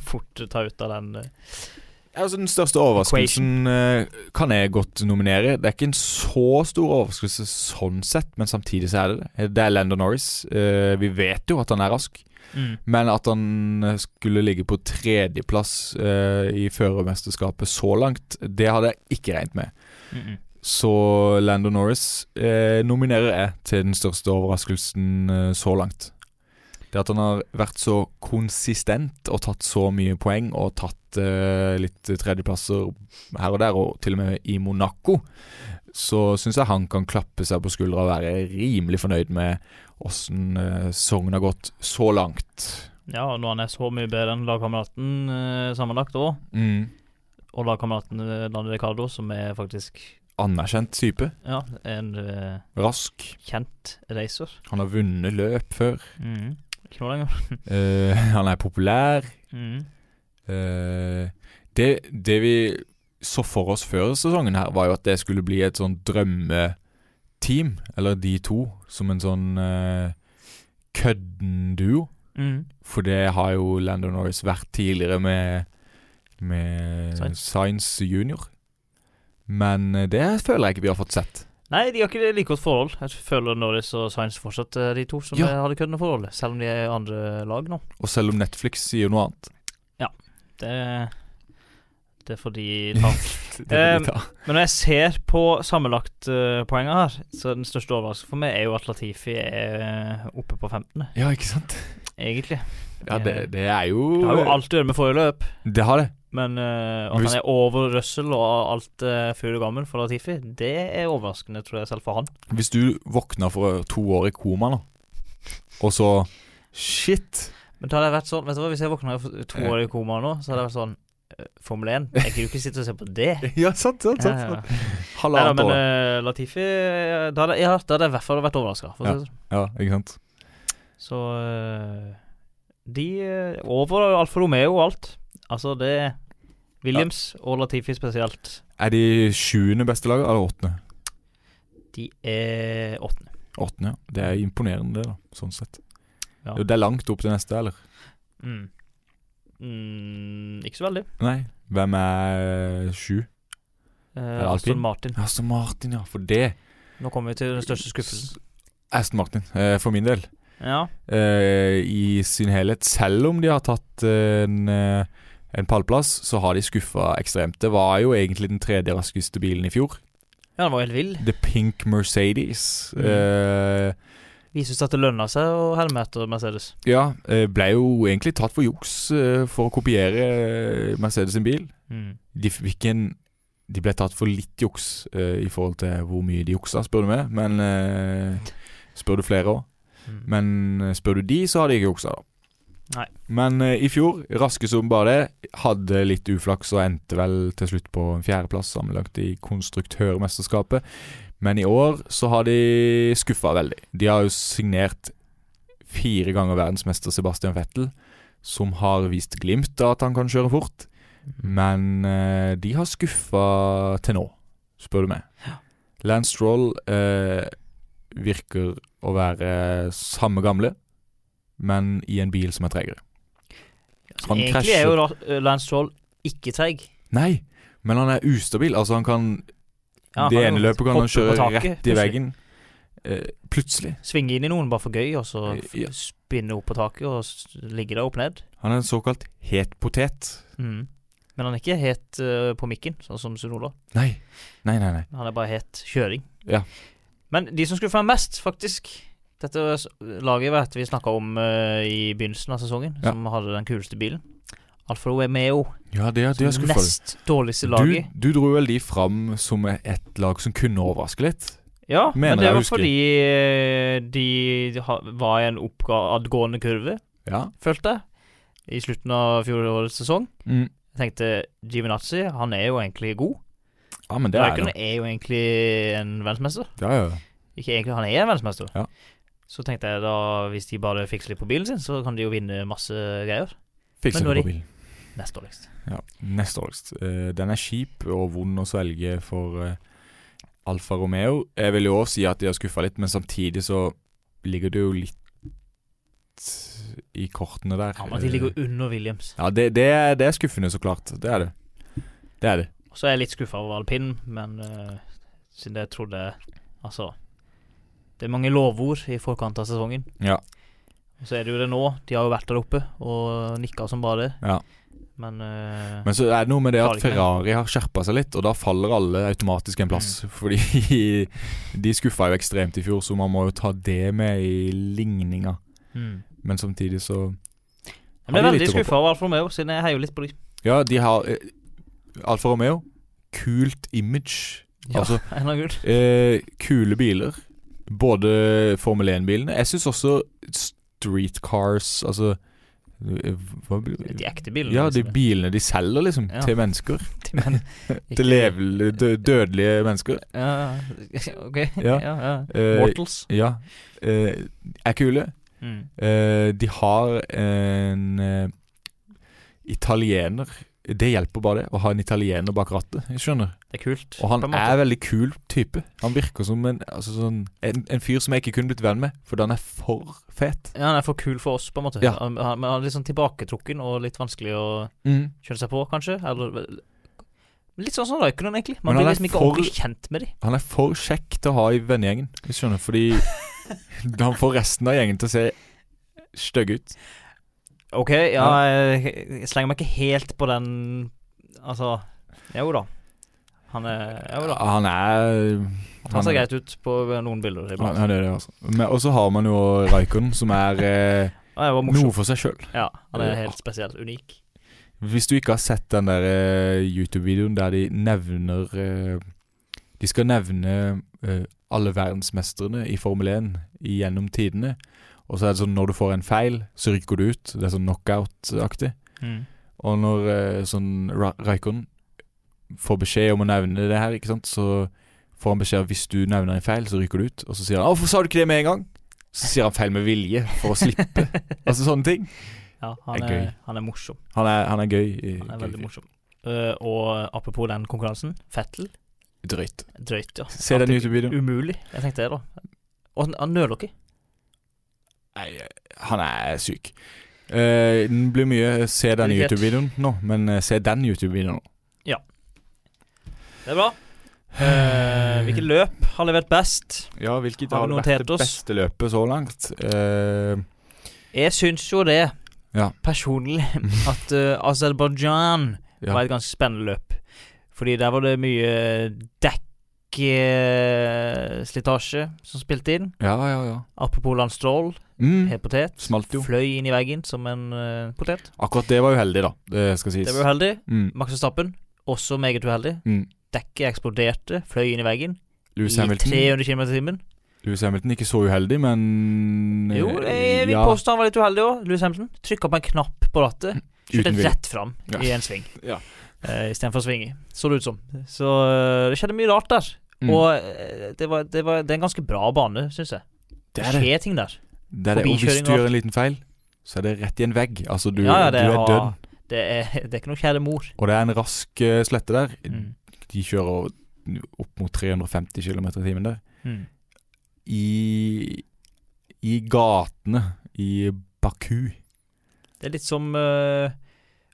Speaker 4: fort ta ut av den. eh.
Speaker 5: Altså Den største overraskelsen eh, kan jeg godt nominere. Det er ikke en så stor overraskelse sånn sett, men samtidig så er det det. Det er Landon Norris. Eh, Vi vet jo at han er rask,
Speaker 4: Mm,
Speaker 5: men at han eh, skulle ligge på tredjeplass eh, i førermesterskapet så langt, det hadde jeg ikke regnet med.
Speaker 4: Mm -mm.
Speaker 5: Så Landon Norris eh, nominerer jeg til den største overraskelsen eh, så langt. Det at han har vært så konsistent og tatt så mye poeng og tatt eh, litt tredjeplasser her og der, og til og med i Monaco, så syns jeg han kan klappe seg på skuldra og være rimelig fornøyd med åssen eh, sesongen har gått så langt.
Speaker 4: Ja, og når han er så mye bedre enn lagkameraten eh, sammenlagt òg,
Speaker 5: Mm.
Speaker 4: og lagkameraten eh, Daniel Ricardo, som er faktisk
Speaker 5: Anerkjent type.
Speaker 4: ja, en eh,
Speaker 5: Rask.
Speaker 4: kjent racer.
Speaker 5: Han har vunnet løp før.
Speaker 4: Mm. Ikke noe lenger.
Speaker 5: Eh, han er populær.
Speaker 4: Mm.
Speaker 5: Eh, det, det vi så for oss før sesongen her, var jo at det skulle bli et sånn drømmeteam, eller de to, som en sånn eh, kødden-duo.
Speaker 4: Mm.
Speaker 5: For det har jo Landon Norris vært tidligere med, med
Speaker 4: Sainz.
Speaker 5: Science Junior. Men eh, det føler jeg ikke vi har fått sett.
Speaker 4: Nei, de har ikke det like godt forhold. Jeg føler Norris og Science fortsatt er de to som
Speaker 5: Ja.
Speaker 4: eh, har det køddende forholdet, selv om de er i andre lag nå.
Speaker 5: Og selv om Netflix sier noe annet.
Speaker 4: Det, det får de ta.
Speaker 5: Det vil
Speaker 4: Eh,
Speaker 5: de ta.
Speaker 4: Men når jeg ser på sammenlagtpoenga her, så er den største overraskelsen for meg er jo at Latifi er eh, oppe på 15.,
Speaker 5: Ja, ikke sant?
Speaker 4: egentlig.
Speaker 5: Ja, det, det er jo
Speaker 4: eh, Det har jo alt å gjøre med forrige løp,
Speaker 5: Det har det.
Speaker 4: men eh, at
Speaker 5: Men hvis-
Speaker 4: han er over Russell og alt uh, fyr og gammel for Latifi, det er overraskende, tror jeg, selv for han.
Speaker 5: Hvis du våkna for to år i koma nå, og så Shit!
Speaker 4: Men da hadde jeg vært sånn, vet du hva, hvis jeg våkna for to år i koma nå, så hadde jeg vært sånn eh, Formel 1, jeg gidder jo ikke sitte og se på det.
Speaker 5: Ja, sant, sant,
Speaker 4: Ja, ja.
Speaker 5: sant.
Speaker 4: Nei da,
Speaker 5: Halvannet
Speaker 4: men
Speaker 5: år.
Speaker 4: eh, Latifi eh, da hadde, ja, da hadde jeg i hvert fall vært overraska.
Speaker 5: eh, Ja, ikke sant.
Speaker 4: Så eh, de eh, over Alfa Romeo og alt. Altså, det Williams og Latifi spesielt,
Speaker 5: Er de sjuende beste laget, eller åttende?
Speaker 4: de er åttende.
Speaker 5: Åttende, ja. Det er imponerende, det, da. Sånn sett.
Speaker 4: Ja.
Speaker 5: Jo, Det er langt opp til neste, eller?
Speaker 4: Mm. Mm, ikke så veldig.
Speaker 5: Nei. Hvem er eh, sju?
Speaker 4: Eh,
Speaker 5: det
Speaker 4: Aston
Speaker 5: alpin?
Speaker 4: Martin.
Speaker 5: Aston Martin, ja. For det
Speaker 4: Nå kommer vi til den største skuffelsen.
Speaker 5: Aston Martin, eh, for min del.
Speaker 4: Ja.
Speaker 5: eh, i sin helhet. Selv om de har tatt eh, en, eh, en pallplass, så har de skuffa ekstremt. Det var jo egentlig den tredje raskeste bilen i fjor.
Speaker 4: ja, den var helt vill.
Speaker 5: The Pink Mercedes.
Speaker 4: Mm.
Speaker 5: Eh,
Speaker 4: Viser seg at det lønner seg å helme etter Mercedes.
Speaker 5: Ja, eh, ble jo egentlig tatt for juks eh, for å kopiere eh, Mercedes sin bil.
Speaker 4: Mm.
Speaker 5: De fikk en De ble tatt for litt juks eh, i forhold til hvor mye de juksa, spør du meg. Men eh, spør du flere òg.
Speaker 4: Mm.
Speaker 5: Men eh, spør du de, så har de ikke juksa, da.
Speaker 4: Nei.
Speaker 5: Men eh, i fjor, raske som bare det, hadde litt uflaks og endte vel til slutt på en fjerdeplass sammenlagt i konstruktørmesterskapet. Men i år så har de skuffa veldig. De har jo signert fire ganger verdensmester Sebastian Vettel, som har vist glimt av at han kan kjøre fort. Men eh, de har skuffa til nå, spør du meg. Lance Stroll eh, virker å være samme gamle, men i en bil som er tregere. Han
Speaker 4: Egentlig
Speaker 5: krasjer-
Speaker 4: er jo da, eh, Lance Troll ikke treig.
Speaker 5: Nei, men han er ustabil. Altså, han kan
Speaker 4: Ja,
Speaker 5: Det
Speaker 4: han
Speaker 5: ene løpet kan
Speaker 4: hopper
Speaker 5: han kjøre
Speaker 4: på taket,
Speaker 5: rett i
Speaker 4: plutselig.
Speaker 5: veggen. Eh, plutselig.
Speaker 4: Svinge inn i noen bare for gøy, og så f-
Speaker 5: Ja.
Speaker 4: spinne opp på taket og s- ligge der opp ned.
Speaker 5: Han er en såkalt het potet.
Speaker 4: Mm. Men han er ikke helt eh, på mikken, sånn som Sunola.
Speaker 5: Nei. Nei, nei, nei.
Speaker 4: Han er bare helt kjøring.
Speaker 5: Ja.
Speaker 4: Men de som skuffer mest, faktisk Dette s- laget vet vi snakka om eh, i begynnelsen av sesongen,
Speaker 5: Ja.
Speaker 4: som hadde den kuleste bilen. Alfa Romeo,
Speaker 5: Ja, det er, det er skuffa. du.
Speaker 4: nest dårligste
Speaker 5: Du,
Speaker 4: laget.
Speaker 5: du dro vel de fram som et lag som kunne overraske litt.
Speaker 4: Ja,
Speaker 5: Mener
Speaker 4: men det
Speaker 5: jeg
Speaker 4: var
Speaker 5: husker.
Speaker 4: fordi eh, de ha- var i en oppadgående kurve,
Speaker 5: Ja.
Speaker 4: følte jeg, i slutten av fjorårets sesong.
Speaker 5: Mm.
Speaker 4: Jeg tenkte Givinazzi, han er jo egentlig god.
Speaker 5: Ja, men det er
Speaker 4: Raikkonen
Speaker 5: det.
Speaker 4: er jo egentlig en verdensmester.
Speaker 5: Ja, ja.
Speaker 4: Ikke egentlig, han er en verdensmester.
Speaker 5: Ja.
Speaker 4: Så tenkte jeg da, hvis de bare fikser litt på bilen sin, så kan de jo vinne masse greier. liksom.
Speaker 5: Fikser
Speaker 4: Men nå er
Speaker 5: det
Speaker 4: de-
Speaker 5: på bilen.
Speaker 4: Nest dårligst.
Speaker 5: Ja. Neste årst. Eh, den er kjip og vond å svelge for eh, Alfa Romeo. Jeg vil jo òg si at de har skuffa litt, men samtidig så ligger det jo litt i kortene der. Eh,
Speaker 4: Ja, men de ligger jo under Williams.
Speaker 5: Ja, det, det, er, det er skuffende, så klart. Det er det. Det er det.
Speaker 4: Og så er jeg litt skuffa over alpin, men eh, siden jeg trodde Altså Det er mange lovord i forkant av sesongen.
Speaker 5: Ja.
Speaker 4: Og så er det jo det nå. De har jo vært der oppe og nikka som bare det.
Speaker 5: Ja.
Speaker 4: Men, eh,
Speaker 5: Men så er det noe med det
Speaker 4: Klarer
Speaker 5: at
Speaker 4: ikke mer.
Speaker 5: Ferrari har skjerpa seg litt, og da faller alle automatisk
Speaker 4: Mm.
Speaker 5: en plass. Fordi de skuffa jo ekstremt i fjor, så man må jo ta det med i ligninga.
Speaker 4: mm.
Speaker 5: Men samtidig så
Speaker 4: Jeg ble
Speaker 5: Har de
Speaker 4: veldig
Speaker 5: litt å gå på?
Speaker 4: skuffa over Alfa Romeo, siden jeg heier jo litt på dem.
Speaker 5: Ja, de har eh, Alfa Romeo. Kult image. Altså, eh, kule biler. Både Formel 1-bilene Jeg syns også streetcars Altså eh, hva blir
Speaker 4: de ekte bilene.
Speaker 5: Ja, de
Speaker 4: liksom.
Speaker 5: bilene de selger, liksom.
Speaker 4: Ja.
Speaker 5: Til mennesker.
Speaker 4: De- men,
Speaker 5: Til levende, dø- dødelige mennesker.
Speaker 4: Ja, ja, ok.
Speaker 5: Ja.
Speaker 4: Ja, ja.
Speaker 5: Eh,
Speaker 4: Mortals.
Speaker 5: Ja. Eh, er kule.
Speaker 4: Mm.
Speaker 5: Eh, de har en eh, italiener Det hjelper bare, det. Å ha en italiener bak rattet. Jeg skjønner.
Speaker 4: Det er kult.
Speaker 5: Og han
Speaker 4: på en måte.
Speaker 5: er veldig kul type. Han virker som en, altså sånn, en, en fyr som jeg ikke kunne blitt venn med, fordi han er for fet.
Speaker 4: ja, han er for kul for oss, på en måte.
Speaker 5: Ja.
Speaker 4: Han, han, men han er litt sånn tilbaketrukken og litt vanskelig å
Speaker 5: Mm.
Speaker 4: kjøle seg på, kanskje. Eller vel, Litt sånn som Raikonen, egentlig. Man
Speaker 5: Men han
Speaker 4: blir
Speaker 5: er
Speaker 4: liksom ikke
Speaker 5: for-
Speaker 4: ordentlig kjent med dem.
Speaker 5: Han er for kjekk til å ha i vennegjengen, jeg skjønner, fordi han får resten av gjengen til å se stygg ut.
Speaker 4: OK, ja, jeg, jeg slenger meg ikke helt på den Altså Jo da. Han er Jo da.
Speaker 5: Han er
Speaker 4: Han ser greit ut på noen bilder
Speaker 5: Han,
Speaker 4: iblant.
Speaker 5: han er det, altså. Men- Og så har man jo Raikon, som er eh,
Speaker 4: Han er bare morsom.
Speaker 5: noe for seg sjøl.
Speaker 4: Ja, han er
Speaker 5: Ja.
Speaker 4: helt spesiell. Unik.
Speaker 5: Hvis du ikke har sett den der eh, YouTube-videoen der de nevner eh, De skal nevne eh, alle verdensmestrene i Formel 1 gjennom tidene. Og så er det sånn når du får en feil, så rykker du ut. Det er sånn knockout-aktig.
Speaker 4: Mm.
Speaker 5: Og når eh, sånn Ra Raikon får beskjed om å nevne det her, ikke sant, så får han beskjed om hvis du nevner en feil, så ryker du ut. Og så sier han 'Hvorfor sa du ikke det med en gang?' Så sier han feil med vilje for å slippe. altså sånne ting.
Speaker 4: Ja, han
Speaker 5: Er
Speaker 4: er,
Speaker 5: gøy.
Speaker 4: han er morsom.
Speaker 5: Han er, han er gøy. i-
Speaker 4: Han er
Speaker 5: gøy.
Speaker 4: veldig morsom. Eh, og apropos den konkurransen. Fettel.
Speaker 5: Drøyt.
Speaker 4: Drøyt, ja.
Speaker 5: Se
Speaker 4: At
Speaker 5: den
Speaker 4: det-
Speaker 5: YouTube-videoen.
Speaker 4: Umulig. Jeg tenkte det, da. Og han- han nøler ikke.
Speaker 5: Nei, han er syk. Eh, den blir mye Se denne
Speaker 4: Irritert.
Speaker 5: YouTube-videoen nå, men eh, se den YouTube-videoen nå.
Speaker 4: Det er bra. Eh, hvilke løp har levert best?
Speaker 5: Eh, Ja, hvilket
Speaker 4: Har
Speaker 5: har
Speaker 4: vi
Speaker 5: vært det
Speaker 4: notert oss?
Speaker 5: beste løpet så langt? Eh,
Speaker 4: Jeg syns jo det,
Speaker 5: Ja.
Speaker 4: personlig, at eh, Aserbajdsjan
Speaker 5: Ja.
Speaker 4: var et ganske spennende løp. Fordi der var det mye dekk eh, slitasje som spilte inn.
Speaker 5: Ja, ja, ja.
Speaker 4: Apropos Lance Stroll,
Speaker 5: Mm.
Speaker 4: helt potet.
Speaker 5: Smalt jo.
Speaker 4: Fløy inn i veggen som en eh, potet.
Speaker 5: Akkurat det var uheldig, da. Det skal sies.
Speaker 4: Det var uheldig.
Speaker 5: Mm.
Speaker 4: Max Verstappen, også meget uheldig.
Speaker 5: Mm.
Speaker 4: Dekket eksploderte, fløy inn i veggen
Speaker 5: Lewis
Speaker 4: i
Speaker 5: Hamilton.
Speaker 4: 300 km i timen.
Speaker 5: Lewis Hamilton ikke så uheldig, men eh,
Speaker 4: Jo, eh, jeg vil
Speaker 5: ja,
Speaker 4: påstå han var litt uheldig òg. Louis Hampton trykka på en knapp på rattet. Kjørte
Speaker 5: uten vilje.
Speaker 4: rett fram
Speaker 5: Ja.
Speaker 4: i en sving
Speaker 5: Ja.
Speaker 4: eh, istedenfor å svinge, så det ut som. Så eh, det skjedde mye rart der.
Speaker 5: Mm.
Speaker 4: Og eh, det, var, det, var, det er en ganske bra bane, syns jeg.
Speaker 5: Det
Speaker 4: Det
Speaker 5: er det.
Speaker 4: skjer ting der.
Speaker 5: det, er det. Og hvis
Speaker 4: Forbikjøring
Speaker 5: du
Speaker 4: og
Speaker 5: gjør en liten feil, så er det rett i en vegg. Altså, du,
Speaker 4: Ja, ja, det
Speaker 5: du er
Speaker 4: har-
Speaker 5: dønn.
Speaker 4: Det er, det er ikke noe kjære mor.
Speaker 5: Og det er en rask eh, slette der.
Speaker 4: Mm.
Speaker 5: De kjører over- opp mot 350 km i timen der.
Speaker 4: Mm.
Speaker 5: I, I gatene i Baku.
Speaker 4: Det er litt som eh,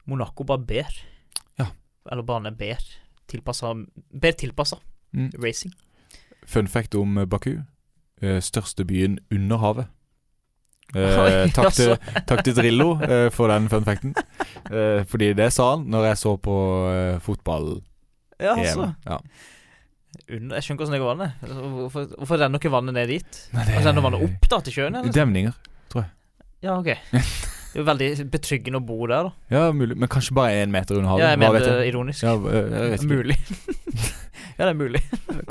Speaker 4: Monaco bare ber.
Speaker 5: Ja.
Speaker 4: Eller bane ber. Tilpassa Ber tilpassa
Speaker 5: Mm.
Speaker 4: racing.
Speaker 5: Fun fact om eh, Baku. Eh, Største byen under havet. Eh,
Speaker 4: Oi,
Speaker 5: takk, til,
Speaker 4: altså.
Speaker 5: takk til Drillo eh, for den fun facten. Eh, fordi det sa han når jeg så på eh, fotball-EM.
Speaker 4: Ja, altså.
Speaker 5: Ja.
Speaker 4: Under, jeg skjønner ikke hvordan det går vannet. Altså, Hvorfor, hvorfor renner ikke vannet ned dit?
Speaker 5: Nei, det-
Speaker 4: Altså, renner vannet opp da til sjøen? Eller?
Speaker 5: Demninger.
Speaker 4: Ja, ok. Det er jo veldig betryggende å bo der, da.
Speaker 5: Ja, mulig. Men kanskje bare én meter under havet.
Speaker 4: Ja, jeg
Speaker 5: Hva
Speaker 4: mener
Speaker 5: vet
Speaker 4: det
Speaker 5: jeg?
Speaker 4: ironisk.
Speaker 5: Ja, eh, jeg vet ikke.
Speaker 4: mulig. ja, det er mulig.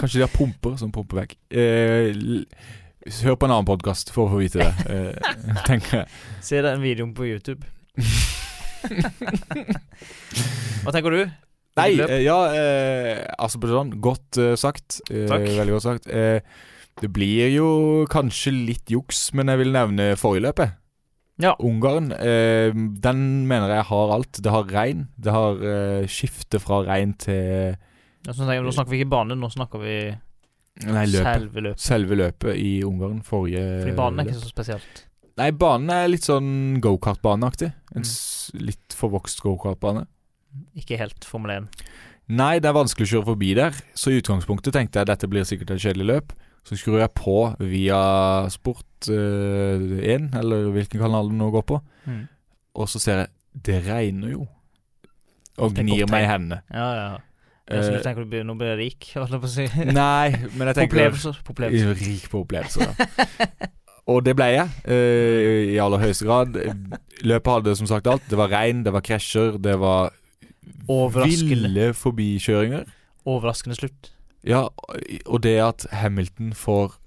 Speaker 5: Kanskje de har pumper som pumper vekk. Eh, l- hør på en annen podkast for å få vite det, eh, tenker jeg.
Speaker 4: Se den videoen på YouTube. Hva tenker du?
Speaker 5: Nei,
Speaker 4: Løp.
Speaker 5: eh, ja eh, Aserbajdsjan. Godt eh, sagt. Eh,
Speaker 4: Takk.
Speaker 5: Veldig godt sagt. Eh, det blir jo kanskje litt juks, men jeg vil nevne forrige løpet.
Speaker 4: Ja.
Speaker 5: Ungarn. Eh, den mener jeg har alt. Det har regn. Det har eh, skifte fra regn til
Speaker 4: Ja, så tenker jeg, nå snakker vi ikke bane, nå snakker vi
Speaker 5: Nei, løpet.
Speaker 4: selve løpet.
Speaker 5: Selve løpet i Ungarn forrige
Speaker 4: Fordi banen er
Speaker 5: løp.
Speaker 4: ikke så spesielt.
Speaker 5: Nei, banen er litt sånn gokartbaneaktig.
Speaker 4: Mm.
Speaker 5: En s- litt forvokst gokartbane.
Speaker 4: Ikke helt Formel 1.
Speaker 5: Nei, det er vanskelig å kjøre forbi der, så i utgangspunktet tenkte jeg dette blir sikkert et kjedelig løp. Så skrur jeg på via Sport1, eller hvilken kanal det nå går på,
Speaker 4: Mm.
Speaker 5: og så ser jeg det regner jo. Og
Speaker 4: Det er
Speaker 5: gnir
Speaker 4: godt
Speaker 5: meg i
Speaker 4: tegn.
Speaker 5: hendene.
Speaker 4: Ja, ja. Jeg synes, tenker du blir, nå blir jeg rik, holdt jeg på å si.
Speaker 5: Eh, nei, men jeg tenker
Speaker 4: Opplevelser. Opplevelser.
Speaker 5: Rik på opplevelser, ja. Og det ble jeg, eh, i aller høyeste grad. Løpet hadde som sagt alt. Det var regn, det var krasjer, det var
Speaker 4: Overraskende.
Speaker 5: ville forbikjøringer.
Speaker 4: Overraskende slutt.
Speaker 5: Ja, og det at Hamilton får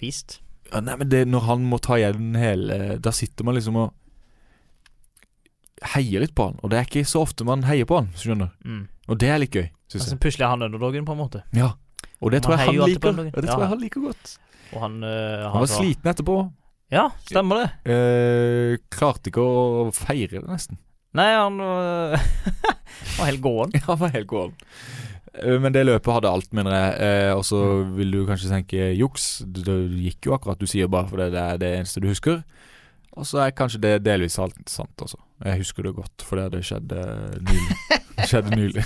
Speaker 4: Vist.
Speaker 5: ja, Nei, men det når han må ta igjen hele Da sitter man liksom og heier litt på han. Og det er ikke så ofte man heier på han, hvis du skjønner.
Speaker 4: Mm.
Speaker 5: Og det er litt gøy, syns
Speaker 4: Altså,
Speaker 5: jeg.
Speaker 4: plutselig er han underdogen, på en måte.
Speaker 5: Ja. Og det
Speaker 4: Man
Speaker 5: tror jeg
Speaker 4: heier jo
Speaker 5: han
Speaker 4: alltid på
Speaker 5: liker.
Speaker 4: han,
Speaker 5: Og det
Speaker 4: ja.
Speaker 5: tror jeg han liker godt.
Speaker 4: Og han eh,
Speaker 5: Han var
Speaker 4: sa-
Speaker 5: sliten etterpå.
Speaker 4: Ja, stemmer det.
Speaker 5: Eh, klarte ikke å feire det, nesten.
Speaker 4: Nei, han var, var helt gåen.
Speaker 5: Han var helt gåen. Eh, Men det løpet hadde alt, mener jeg. Eh, og så vil du kanskje tenke juks. Det det gikk jo akkurat du sier, bare fordi det er det eneste du husker. Og så er kanskje det delvis alt sant, altså. Jeg husker det godt, fordi det skjedde nylig. Det skjedde nylig.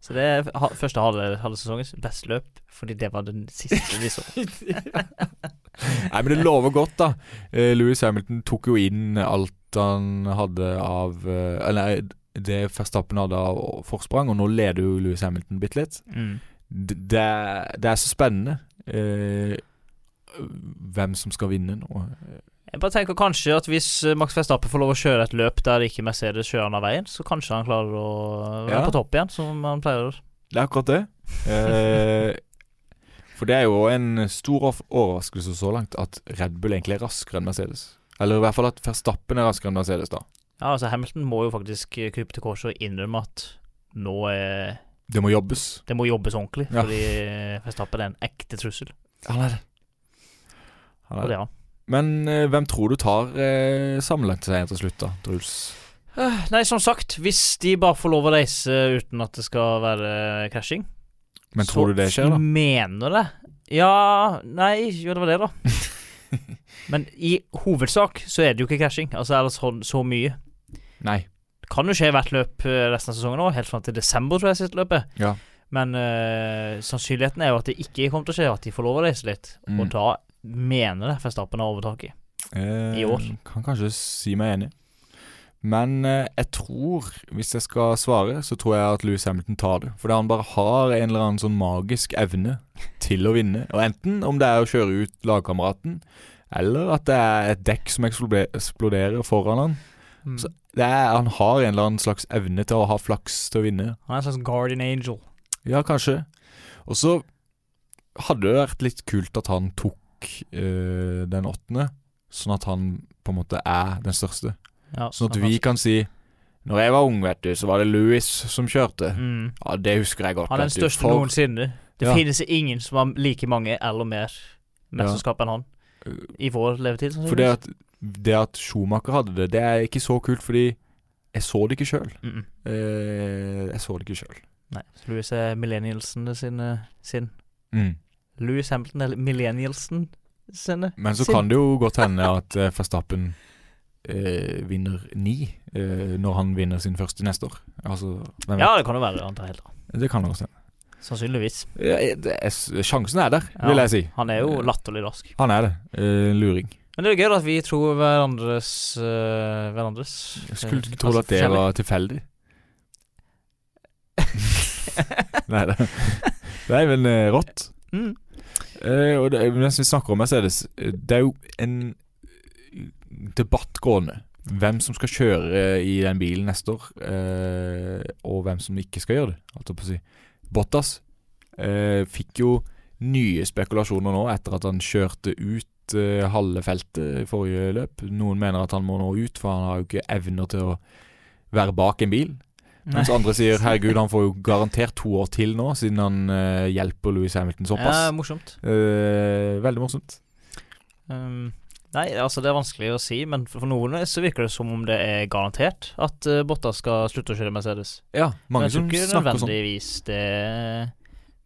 Speaker 4: Så det er ha, første halve, halve sesongens beste løp, fordi det var den siste vi så.
Speaker 5: Nei, men det lover godt, da. Eh, Louis Hamilton tok jo inn alt han hadde av eh, Eller det Verstappen hadde av forsprang, og nå leder jo Louis Hamilton bitte litt.
Speaker 4: Mm.
Speaker 5: D- det, er- det er så spennende eh, hvem som skal vinne nå.
Speaker 4: Jeg bare tenker kanskje at hvis eh, Max Verstappen får lov å kjøre et løp der ikke Mercedes kjører han av veien, så kanskje han klarer å være
Speaker 5: Ja.
Speaker 4: på topp igjen, som han pleier.
Speaker 5: Det er akkurat det. Eh, for det er jo en stor of- overraskelse så langt at Red Bull egentlig er raskere enn Mercedes. Eller i hvert fall at Verstappen er raskere enn Mercedes, da.
Speaker 4: Ja, altså Hamilton må jo faktisk eh, krype til korset og innrømme at nå er
Speaker 5: Det må jobbes.
Speaker 4: Det må jobbes ordentlig,
Speaker 5: Ja.
Speaker 4: fordi eh, Verstappen er en ekte trussel.
Speaker 5: Han er det. Han
Speaker 4: Og
Speaker 5: er det.
Speaker 4: det er han.
Speaker 5: Men eh, hvem tror du tar eh, sammenlagtseieren til slutt, da, Truls?
Speaker 4: Eh, Nei, som sagt, hvis de bare får lov å reise uten at det skal være eh, krasjing
Speaker 5: Men
Speaker 4: så
Speaker 5: tror du det skjer, da?
Speaker 4: Mener det? Ja Nei, jo, det var det, da. Men i hovedsak så er det jo ikke krasjing. Altså ellers så, så mye.
Speaker 5: Nei.
Speaker 4: Det kan jo skje i hvert løp eh, resten av sesongen òg, helt fram til desember, tror jeg, siste løpet.
Speaker 5: Ja.
Speaker 4: Men eh, sannsynligheten er jo at det ikke kommer til å skje, at de får lov å reise litt.
Speaker 5: Mm.
Speaker 4: Og da mener det Verstappen har overtaket.
Speaker 5: Eh,
Speaker 4: I år.
Speaker 5: Kan kanskje si meg enig. Men eh, jeg tror, hvis jeg skal svare, så tror jeg at Louis Hamilton tar det. Fordi han bare har en eller annen sånn magisk evne til å vinne. Og enten om det er å kjøre ut lagkameraten, eller at det er et dekk som eksplode- eksploderer foran han.
Speaker 4: Mm.
Speaker 5: Så- Det er, han har en eller annen slags evne til å ha flaks til å vinne.
Speaker 4: Han er en slags guardian angel.
Speaker 5: Ja, kanskje. Og så hadde det vært litt kult at han tok eh, den åttende, sånn at han på en måte er den største.
Speaker 4: Ja,
Speaker 5: Sånn at
Speaker 4: han-
Speaker 5: vi kan si Når jeg var ung, vet du, så var det Louis som kjørte.
Speaker 4: mm.
Speaker 5: Ja, Det husker jeg godt.
Speaker 4: Han er den
Speaker 5: vet du,
Speaker 4: største
Speaker 5: for-
Speaker 4: noensinne. Det
Speaker 5: Ja.
Speaker 4: finnes ingen som har like mange eller mer mesterskap enn han. I vår levetid,
Speaker 5: For det at, det at Schumacher hadde det, det er ikke så kult, fordi jeg så det ikke sjøl.
Speaker 4: Mm -mm.
Speaker 5: Eh, jeg så det ikke sjøl.
Speaker 4: Nei. Så Louis er millennialsene sine sin.
Speaker 5: Mm.
Speaker 4: Louis Hampton er millennialsen sine.
Speaker 5: Men så
Speaker 4: Sin-
Speaker 5: kan det jo godt hende at eh, Verstappen eh, vinner ni eh, når han vinner sin første neste år. Altså, hvem vet?
Speaker 4: Ja, det kan jo være. Han tar helt av.
Speaker 5: Det kan det godt hende.
Speaker 4: Sannsynligvis.
Speaker 5: Ja, det er, s- sjansen er der,
Speaker 4: Ja.
Speaker 5: vil jeg si.
Speaker 4: Han er jo
Speaker 5: Eh,
Speaker 4: latterlig rask.
Speaker 5: Han er det. Eh, luring.
Speaker 4: Men det er gøy at vi tror hverandres eh, Hverandres
Speaker 5: Jeg skulle ikke
Speaker 4: eh,
Speaker 5: tro at det
Speaker 4: forskjellig.
Speaker 5: var tilfeldig. Nei, det, det er vel eh, rått.
Speaker 4: Mm.
Speaker 5: Eh, og det, mens vi snakker om Mercedes, eh, det er jo en eh, debatt gående. Hvem som skal kjøre eh, i den bilen neste år, eh, og hvem som ikke skal gjøre det. Holdt jeg på å si. Bottas eh, fikk jo nye spekulasjoner nå etter at han kjørte ut eh, halve feltet i forrige løp. Noen mener at han må nå ut, for han har jo ikke evner til å være bak en bil.
Speaker 4: Nei.
Speaker 5: Mens andre sier herregud, han får jo garantert to år til nå, siden han eh, hjelper Louis Hamilton såpass.
Speaker 4: Ja, morsomt.
Speaker 5: Eh, veldig morsomt.
Speaker 4: Um, nei, altså det er vanskelig å si, men for, for noen så virker det som om det er garantert at uh, Bottas skal slutte å kjøre Mercedes.
Speaker 5: Ja,
Speaker 4: Men
Speaker 5: mange
Speaker 4: jeg tror
Speaker 5: som
Speaker 4: ikke
Speaker 5: snakker sånn.
Speaker 4: nødvendigvis det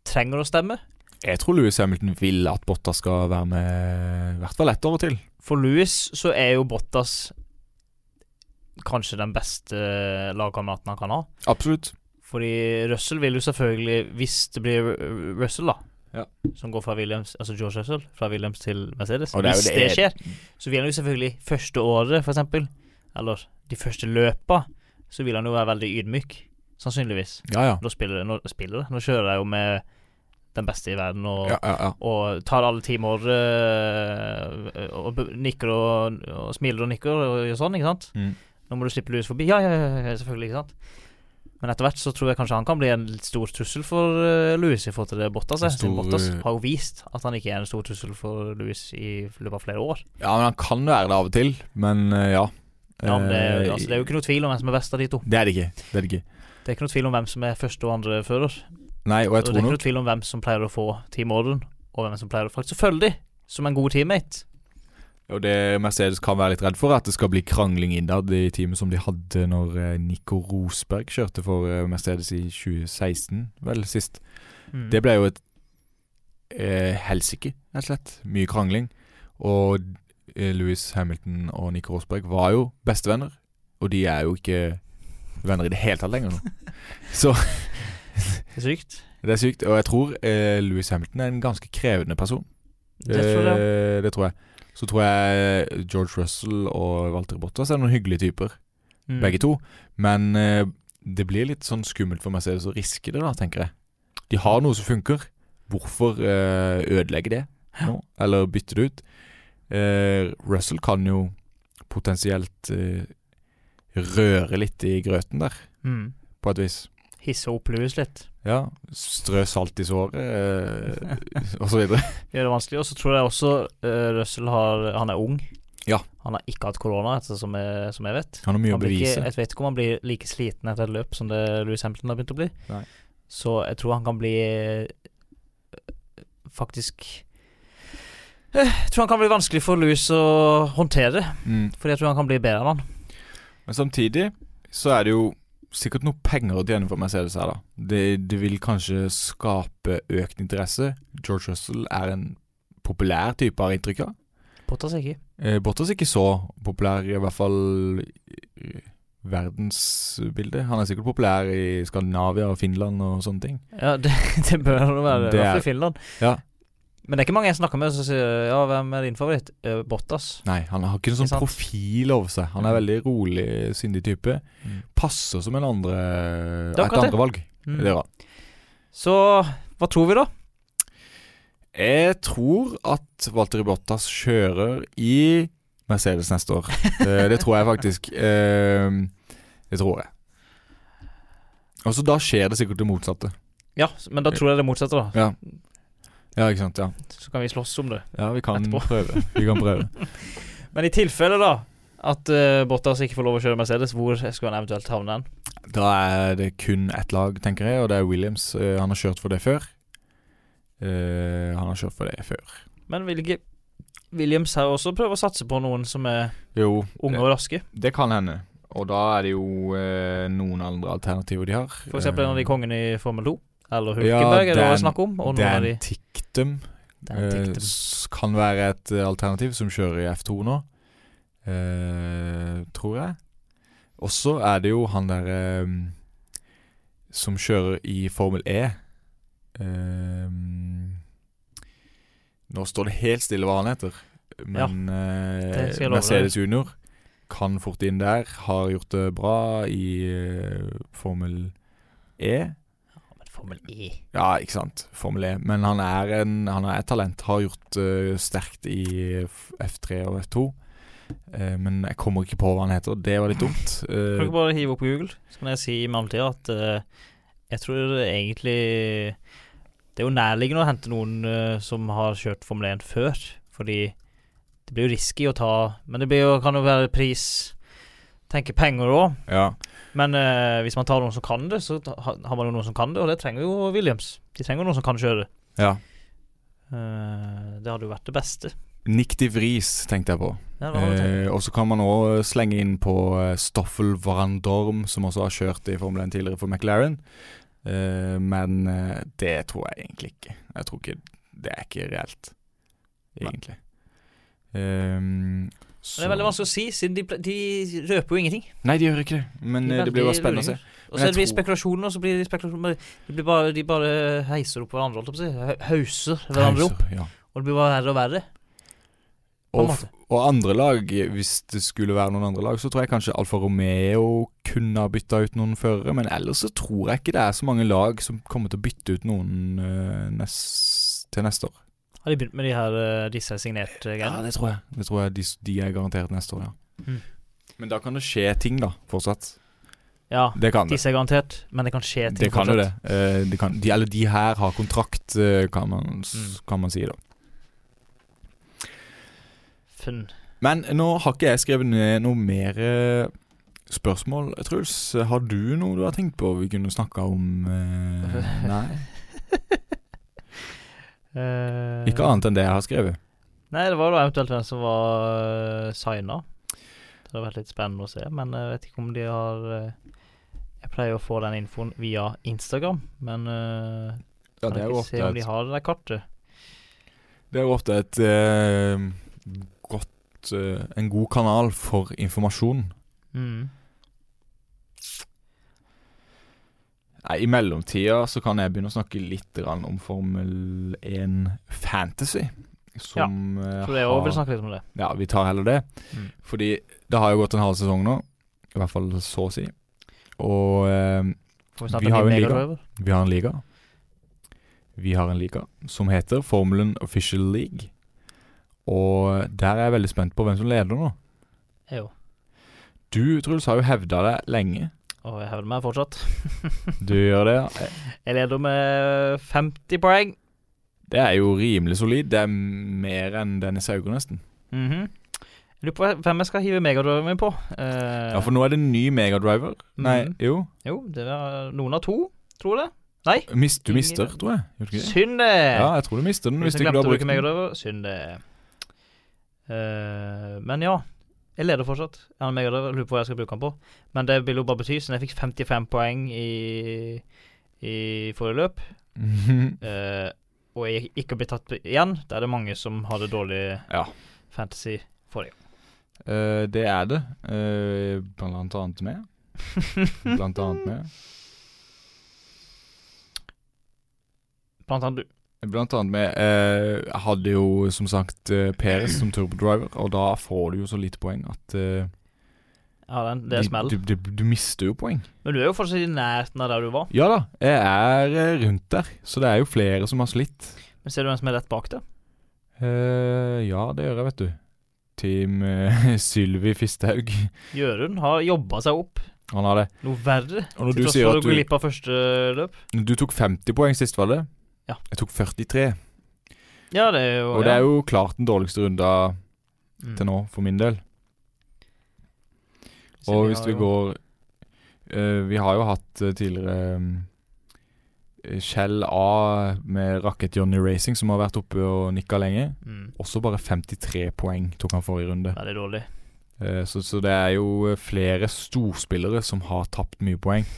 Speaker 4: trenger å stemme.
Speaker 5: Jeg tror Louis Hamilton vil at Bottas skal være med i hvert fall ett år til.
Speaker 4: For Louis så er jo Bottas kanskje den beste eh, lagkameraten han kan ha.
Speaker 5: Absolutt.
Speaker 4: Fordi Russell vil jo selvfølgelig, hvis det blir Ru- Russell, da
Speaker 5: Ja.
Speaker 4: Som går fra Williams, altså George Russell fra Williams til Mercedes.
Speaker 5: Og det er jo
Speaker 4: hvis det,
Speaker 5: det-
Speaker 4: skjer, så vil han jo selvfølgelig første året, for eksempel, eller de første løpa, så vil han jo være veldig ydmyk. Sannsynligvis.
Speaker 5: Ja, ja.
Speaker 4: Nå spiller det, nå, spiller det. nå kjører jeg jo med den beste i verden og,
Speaker 5: ja, ja, ja.
Speaker 4: og tar alle timer øh, og b- nikker og, og smiler og nikker og gjør sånn, ikke sant?
Speaker 5: Mm.
Speaker 4: Nå må du slippe Louis forbi. Ja, ja, ja, ja, selvfølgelig. ikke sant? Men etter hvert så tror jeg kanskje han kan bli en litt stor trussel for eh, Louis i forhold til det Bottas er.
Speaker 5: En
Speaker 4: Siden
Speaker 5: stor,
Speaker 4: Bottas
Speaker 5: eh,
Speaker 4: har jo vist at han ikke er en stor trussel for Louis i løpet av flere år.
Speaker 5: ja, men han kan være det av og til. Men eh, ja.
Speaker 4: Ja, men det, er-
Speaker 5: Eh,
Speaker 4: altså, det er jo ikke noe tvil om hvem som er best av de to.
Speaker 5: det er det ikke. Det er det ikke.
Speaker 4: Det er ikke noe tvil om hvem som er første og andre fører.
Speaker 5: Nei,
Speaker 4: Og
Speaker 5: og jeg
Speaker 4: det er
Speaker 5: tror
Speaker 4: ikke
Speaker 5: nok
Speaker 4: noe tvil om hvem som pleier å få teamordren, og hvem som pleier å faktisk Selvfølgelig! Som en god teammate.
Speaker 5: Og det Mercedes kan være litt redd for, er at det skal bli krangling innad i teamet som de hadde når eh, Nico Rosberg kjørte for eh, Mercedes i 2016, vel, sist.
Speaker 4: Mm.
Speaker 5: Det ble jo et eh, helsike, rett og slett. Mye krangling. Og eh, Louis Hamilton og Nico Rosberg var jo bestevenner, og de er jo ikke venner i det hele tatt lenger nå. Så
Speaker 4: Det er sykt.
Speaker 5: det er sykt. Og jeg tror eh, Louis Hamilton er en ganske krevende person.
Speaker 4: Det tror jeg.
Speaker 5: Eh, det tror jeg. Så tror jeg George Russell og Walter Bottas er noen hyggelige typer,
Speaker 4: Mm.
Speaker 5: begge to. Men eh, det blir litt sånn skummelt for Mercedes å riske det, da, tenker jeg. De har noe som funker. Hvorfor eh, ødelegge det nå, eller bytte det ut? Eh, Russell kan jo potensielt eh, røre litt i grøten der,
Speaker 4: Mm.
Speaker 5: på et vis.
Speaker 4: Hisse opp Louis litt.
Speaker 5: Ja, strø salt i såret, eh, og så videre.
Speaker 4: gjør det vanskelig. Og så tror jeg også eh, Russell har, han er ung.
Speaker 5: Ja.
Speaker 4: Han har ikke hatt korona, etter som jeg, som jeg vet.
Speaker 5: Han har mye
Speaker 4: Han
Speaker 5: å
Speaker 4: blir ikke,
Speaker 5: bevise.
Speaker 4: jeg vet ikke om han blir like sliten etter et løp som det Louis Hampton har begynt å bli.
Speaker 5: Nei.
Speaker 4: Så jeg tror han kan bli eh, Faktisk Eh, Jeg tror han kan bli vanskelig for Louis å håndtere,
Speaker 5: Mm.
Speaker 4: Fordi jeg tror han kan bli bedre enn han.
Speaker 5: Men samtidig så er det jo sikkert noe penger å tjene for Mercedes her, da. Det, det vil kanskje skape økt interesse. George Russell er en populær type, har jeg inntrykk av.
Speaker 4: Bottas ikke.
Speaker 5: Eh, Bottas er ikke så populær, i hvert fall i verdensbildet. Han er sikkert populær i Skandinavia og Finland og sånne ting.
Speaker 4: Ja, det, det bør han være.
Speaker 5: Det
Speaker 4: I hvert
Speaker 5: er-
Speaker 4: fall i Finland.
Speaker 5: Ja.
Speaker 4: Men det er ikke mange jeg snakker med som sier Ja, hvem er din favoritt? Eh, Bottas.
Speaker 5: Nei, han har ikke
Speaker 4: Ikke
Speaker 5: noen sånn
Speaker 4: sant?
Speaker 5: profil over seg. Han er veldig rolig, sindig type.
Speaker 4: Mm.
Speaker 5: Passer som en andre
Speaker 4: Det er
Speaker 5: et
Speaker 4: akkurat det.
Speaker 5: andre valg.
Speaker 4: Mm.
Speaker 5: Det gjør han.
Speaker 4: Så hva tror vi, da?
Speaker 5: Jeg tror at Walter Bottas kjører i Mercedes neste år. Eh, Det tror jeg faktisk. Eh, Det tror jeg. Og så da skjer det sikkert det motsatte.
Speaker 4: Ja, men da tror jeg det motsatte, da.
Speaker 5: Ja, ja ikke sant. Ja,
Speaker 4: Så kan vi slåss om det.
Speaker 5: ja vi kan
Speaker 4: Etterpå.
Speaker 5: prøve. Vi kan prøve.
Speaker 4: Men i tilfelle, da, at eh, Bottas ikke får lov å kjøre Mercedes, hvor skulle han eventuelt havne hen?
Speaker 5: Da er det kun ett lag, tenker jeg, og det er Williams. Eh, Han har kjørt for det før. Eh, han har kjørt for det før.
Speaker 4: Men vil ikke Williams her også prøve å satse på noen som er
Speaker 5: Jo,
Speaker 4: unge
Speaker 5: det,
Speaker 4: og raske?
Speaker 5: det kan hende. Og da er det jo eh, noen andre alternativer de har.
Speaker 4: For eksempel en av de kongene i Formel 2. Eller
Speaker 5: Ja,
Speaker 4: Hulkenberg, er det
Speaker 5: Dan-
Speaker 4: å snakke om. Og noen av
Speaker 5: Dan
Speaker 4: de
Speaker 5: Tiktum
Speaker 4: Dan
Speaker 5: eh,
Speaker 4: Ticktum.
Speaker 5: s- kan være et eh, alternativ som kjører i F2 nå, eh, tror jeg. Og så er det jo han derre som kjører i Formel E. Eh, nå står det helt stille hva han heter, men eh,
Speaker 4: det skal jeg love deg.
Speaker 5: Mercedes Junior kan fort inn der. Har gjort det bra i eh, Formel E.
Speaker 4: Ja, men Formel E.
Speaker 5: Ja, ikke sant. Formel E. Men han er, en, han er et talent. Har gjort eh, sterkt i F- F3 og F2. Eh, men jeg kommer ikke på hva han heter. Det var litt dumt.
Speaker 4: Kan du
Speaker 5: Eh,
Speaker 4: ikke bare hive opp Google, så kan jeg si i mellomtida at eh, jeg tror det egentlig Det er jo nærliggende å hente noen eh, som har kjørt Formel 1 før, fordi det blir jo risky å ta Men det blir jo, kan jo være pris Tenke penger òg.
Speaker 5: ja.
Speaker 4: Men eh, hvis man tar noen som kan det, så ta, har man jo noen som kan det, og det trenger jo Williams. De trenger jo noen som kan kjøre.
Speaker 5: ja.
Speaker 4: Eh, det hadde jo vært det beste.
Speaker 5: Nick de Vries tenkte jeg på.
Speaker 4: Ja, det hadde jeg tenkt.
Speaker 5: Eh, og så kan man òg slenge inn på eh, Stoffel Van Dorm, som også har kjørt i Formel 1 tidligere for McLaren. Eh, men eh, det tror jeg egentlig ikke. Jeg tror ikke Det er ikke reelt, egentlig. Um,
Speaker 4: Men det er veldig vanskelig å si, siden de, pl- de røper jo ingenting.
Speaker 5: Nei, de gjør ikke det. Men
Speaker 4: De er
Speaker 5: eh, det blir bare
Speaker 4: veldig
Speaker 5: spennende å se.
Speaker 4: Og så
Speaker 5: Men jeg
Speaker 4: blir det
Speaker 5: tror-
Speaker 4: spekulasjoner, og så blir det spekulasjoner det blir bare, De bare heiser opp hverandre, holdt jeg på å si. Hauser hverandre opp.
Speaker 5: Pauser, Ja.
Speaker 4: Og det blir bare verre og verre. På en
Speaker 5: Og, f-
Speaker 4: måte.
Speaker 5: og andre lag, hvis det skulle være noen andre lag, så tror jeg kanskje Alfa Romeo kunne ha bytta ut noen førere. Men ellers så tror jeg ikke det er så mange lag som kommer til å bytte ut noen eh, nes- til neste år.
Speaker 4: Har de begynt med de her eh, disse signerte greiene?
Speaker 5: det tror jeg. Det tror jeg De, s- de er garantert neste år, ja.
Speaker 4: Mm.
Speaker 5: Men da kan det skje ting, da, fortsatt.
Speaker 4: Ja.
Speaker 5: Det kan det.
Speaker 4: Disse er garantert, men det kan skje ting.
Speaker 5: Det kan jo det.
Speaker 4: fortsatt.
Speaker 5: Eh, de kan, de, eller de her har kontrakt, eh, kan, man, s-
Speaker 4: Mm.
Speaker 5: kan man si, da.
Speaker 4: Funn.
Speaker 5: Men nå har ikke jeg skrevet ned noe mer eh, spørsmål, Truls. Har du noe du har tenkt på vi kunne snakka om? eh, nei.
Speaker 4: Eh,
Speaker 5: Ikke annet enn det jeg har skrevet.
Speaker 4: Nei, det var jo da eventuelt den som var eh, signa. Det hadde vært litt spennende å se, men jeg vet ikke om de har eh, Jeg pleier å få den infoen via Instagram, men eh,
Speaker 5: Ja,
Speaker 4: kan
Speaker 5: det er jo
Speaker 4: ikke se
Speaker 5: ofte
Speaker 4: om de
Speaker 5: et,
Speaker 4: har det der kartet.
Speaker 5: det er jo ofte et eh, godt eh, En god kanal for informasjon.
Speaker 4: Mm.
Speaker 5: Nei, I mellomtida så kan jeg begynne å snakke litt grann om Formel 1 Fantasy. Som eh,
Speaker 4: Så det er jo-
Speaker 5: har-
Speaker 4: vil snakke litt om det.
Speaker 5: Ja, vi tar heller det.
Speaker 4: Mm.
Speaker 5: Fordi det har jo gått en halv sesong nå. I hvert fall så å si. Og eh,
Speaker 4: Får vi snakke
Speaker 5: Vi
Speaker 4: om
Speaker 5: har
Speaker 4: de
Speaker 5: jo en liga.
Speaker 4: megadriver?
Speaker 5: vi har en liga. Vi har en liga som heter Formelen Official League. Og der er jeg veldig spent på hvem som leder nå.
Speaker 4: Er jo.
Speaker 5: Du, Truls, har jo hevda deg lenge.
Speaker 4: Og jeg hevder meg fortsatt.
Speaker 5: Du gjør det. ja.
Speaker 4: Jeg leder med 50 poeng.
Speaker 5: Det er jo rimelig solid. Det er mer enn Dennis Hauger, nesten.
Speaker 4: Mhm. Jeg lurer på hvem jeg skal hive megadriveren min på. Eh,
Speaker 5: Ja, for nå er det en ny megadriver. Nei,
Speaker 4: Mhm.
Speaker 5: jo.
Speaker 4: Jo, det er noen av to, tror jeg. Nei,
Speaker 5: Mis- Du
Speaker 4: Ingen-
Speaker 5: mister, tror jeg. Gjør du ikke det?
Speaker 4: synd det!
Speaker 5: Ja, jeg tror du mister den
Speaker 4: Hvis
Speaker 5: hvis
Speaker 4: jeg
Speaker 5: ikke du
Speaker 4: glemte
Speaker 5: har
Speaker 4: å
Speaker 5: brukt
Speaker 4: bruke
Speaker 5: den.
Speaker 4: megadriver, synd det. Eh, men ja, jeg leder fortsatt. Jeg har en megadriver, lurer på hva jeg skal bruke den på. Men det vil jo bare bety, siden jeg fikk 55 poeng i, i forrige løp, Eh, og jeg ikke blir tatt igjen, da er det mange som hadde dårlig
Speaker 5: Ja.
Speaker 4: fantasy.
Speaker 5: Eh, det er det. Eh, blant annet med. Blant annet med.
Speaker 4: Blant annet du.
Speaker 5: Blant annet med eh, Jeg hadde jo som sagt eh, Peres som turbodriver, og da får du jo så lite poeng at eh,
Speaker 4: Ja, den, det
Speaker 5: de-
Speaker 4: smeller.
Speaker 5: du, du, du mister jo poeng.
Speaker 4: Men du er jo fortsatt i nærheten av der du var.
Speaker 5: Ja da, jeg er eh, rundt der, så det er jo flere som har slitt.
Speaker 4: Men ser du hvem som er rett bak deg?
Speaker 5: Eh, ja, det gjør jeg, vet du. Team eh, Sylvi Fisthaug.
Speaker 4: Jørund har jobba seg opp
Speaker 5: Han har det.
Speaker 4: noe verre.
Speaker 5: Og
Speaker 4: Til
Speaker 5: når du
Speaker 4: tross
Speaker 5: sier
Speaker 4: for å
Speaker 5: at
Speaker 4: gå
Speaker 5: du,
Speaker 4: glipp av første løp.
Speaker 5: du tok 50 poeng sist, var det?
Speaker 4: Ja.
Speaker 5: Jeg tok 43,
Speaker 4: Ja, Mm. det er jo
Speaker 5: og det er jo klart den dårligste runda til nå, for min del. Og hvis vi går eh, Vi har jo hatt eh, tidligere eh, Kjell A med Racket Johnny Racing, som har vært oppe og nikka lenge.
Speaker 4: mm.
Speaker 5: Også bare 53 poeng tok han forrige runde.
Speaker 4: Veldig dårlig.
Speaker 5: Eh, Så, så det er jo eh, flere storspillere som har tapt mye poeng.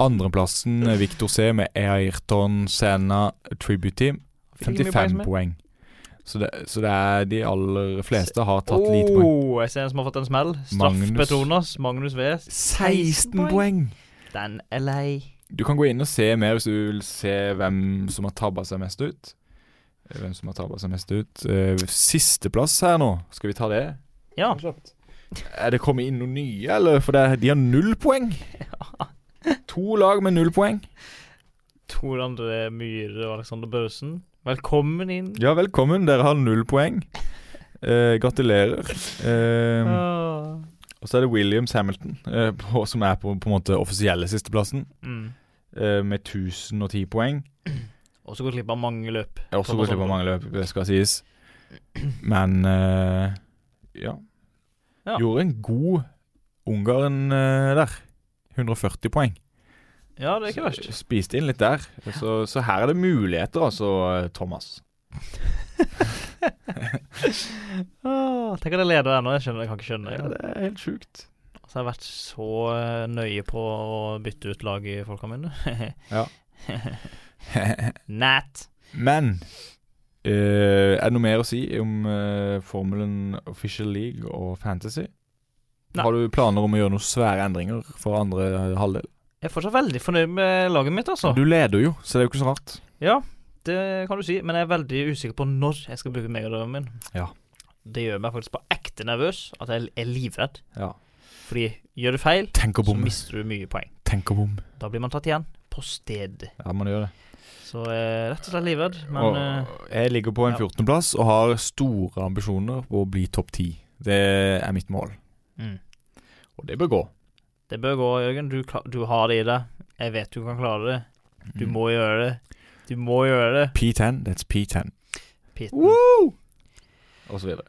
Speaker 5: Andreplassen eh, Victor C med Ayrton Senna Tribute Team.
Speaker 4: Fikk ikke mye poeng som
Speaker 5: 55
Speaker 4: meg.
Speaker 5: poeng. Så det, så det er de aller fleste har tatt
Speaker 4: Åh,
Speaker 5: lite poeng.
Speaker 4: Oh, Jeg ser en som har fått en smell. Straff
Speaker 5: Magnus.
Speaker 4: Petronas. Magnus Wes.
Speaker 5: 16
Speaker 4: poeng.
Speaker 5: poeng!
Speaker 4: Den er lei.
Speaker 5: Du kan gå inn og se mer hvis du vil se hvem som har tabba seg mest ut. Eh, Hvem som har tabba seg mest ut. Eh, Sisteplass her nå, skal vi ta det?
Speaker 4: Ja.
Speaker 5: Er det kommet inn noen nye, eller? For det, er- de har null poeng. To lag med null poeng.
Speaker 4: Tor André Myhre og Alexander Børresen. Velkommen inn.
Speaker 5: Ja, velkommen. Dere har null poeng. Eh, gratulerer. Eh,
Speaker 4: Åh.
Speaker 5: og så er det Williams Hamilton, eh, på, som er på, på en måte offisielle sisteplassen,
Speaker 4: Mm.
Speaker 5: eh, med 1010 poeng.
Speaker 4: Og så går glipp av mange løp.
Speaker 5: Jeg har også gått glipp av mange
Speaker 4: sånn
Speaker 5: løp, det skal sies. Men eh, ja.
Speaker 4: Ja.
Speaker 5: Gjorde en god Ungarn eh, der. 140 poeng.
Speaker 4: Ja, det er ikke verst.
Speaker 5: Så Spiste inn litt der. Så, så her er det muligheter, altså, Thomas.
Speaker 4: Åh, tenk at jeg leder ennå. Jeg skjønner, jeg kan ikke skjønne
Speaker 5: Ja,
Speaker 4: det.
Speaker 5: det er helt sjukt.
Speaker 4: Altså, jeg har vært så eh, nøye på å bytte ut lag i folka mine.
Speaker 5: Ja.
Speaker 4: Nat.
Speaker 5: Men eh, er det noe mer å si om eh, formelen Official League og Fantasy?
Speaker 4: Nei.
Speaker 5: Har du planer om å gjøre noen svære endringer for andre eh, halvdel?
Speaker 4: Jeg er fortsatt veldig fornøyd med laget mitt, altså.
Speaker 5: Du leder jo, så det er jo ikke så rart.
Speaker 4: Ja, det kan du si, men jeg er veldig usikker på når jeg skal bruke megadriven min.
Speaker 5: Ja.
Speaker 4: Det gjør meg faktisk på ekte nervøs, at jeg er livredd.
Speaker 5: Ja.
Speaker 4: Fordi gjør du feil,
Speaker 5: Tenk å
Speaker 4: så
Speaker 5: bomme.
Speaker 4: mister du mye poeng.
Speaker 5: Tenk å bomme.
Speaker 4: Da blir man tatt igjen på sted.
Speaker 5: Ja, man gjør det.
Speaker 4: Så jeg er rett og slett livredd, men
Speaker 5: og,
Speaker 4: eh,
Speaker 5: jeg ligger på en
Speaker 4: ja.
Speaker 5: 14.-plass og har store ambisjoner på å bli topp 10. Det er mitt mål,
Speaker 4: mm.
Speaker 5: og det bør gå.
Speaker 4: det bør gå, Jørgen. Du, kla- du har det i deg. Jeg vet du kan klare det. Du må gjøre det. Du må gjøre det,
Speaker 5: P10, Mm. that's P10.
Speaker 4: Pitten.
Speaker 5: Woo! Og så videre.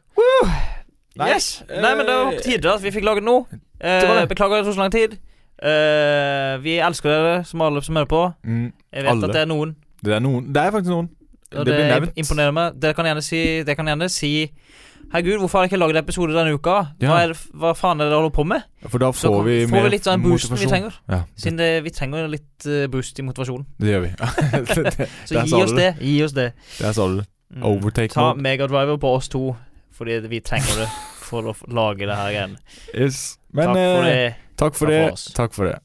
Speaker 5: Nei,
Speaker 4: Yes! Nei, men det var på tide at vi fikk laget noe.
Speaker 5: Eh, Det var
Speaker 4: Eh,
Speaker 5: det.
Speaker 4: beklager det tok så lang tid. Eh, vi elsker dere, som alle som hører på.
Speaker 5: Mm,
Speaker 4: Jeg vet
Speaker 5: Alle.
Speaker 4: at det er noen.
Speaker 5: det er noen Det er faktisk noen.
Speaker 4: Og
Speaker 5: det
Speaker 4: det,
Speaker 5: blir nevnt.
Speaker 4: imponerer meg. Dere kan gjerne si, dere kan gjerne si Herregud, hvorfor har jeg ikke lagd episode denne uka? Hva,
Speaker 5: Ja.
Speaker 4: er, det- hva faen er det dere holder på med?
Speaker 5: For da
Speaker 4: Så
Speaker 5: får vi
Speaker 4: får vi litt av den boosten vi trenger.
Speaker 5: Ja, det,
Speaker 4: Siden det, vi trenger litt eh, boost i motivasjonen.
Speaker 5: det gjør vi. det, det,
Speaker 4: Så
Speaker 5: Der
Speaker 4: gi
Speaker 5: sa
Speaker 4: oss
Speaker 5: du
Speaker 4: det. Gi oss det.
Speaker 5: der sa du det.
Speaker 4: Mm.
Speaker 5: Overtake
Speaker 4: Ta
Speaker 5: mode.
Speaker 4: megadriver på oss to, fordi vi trenger det for å f- lage det her igjen.
Speaker 5: Yes. Men eh,
Speaker 4: Takk for det.
Speaker 5: Takk for
Speaker 4: Takk
Speaker 5: det.
Speaker 4: for oss.
Speaker 5: Takk for det.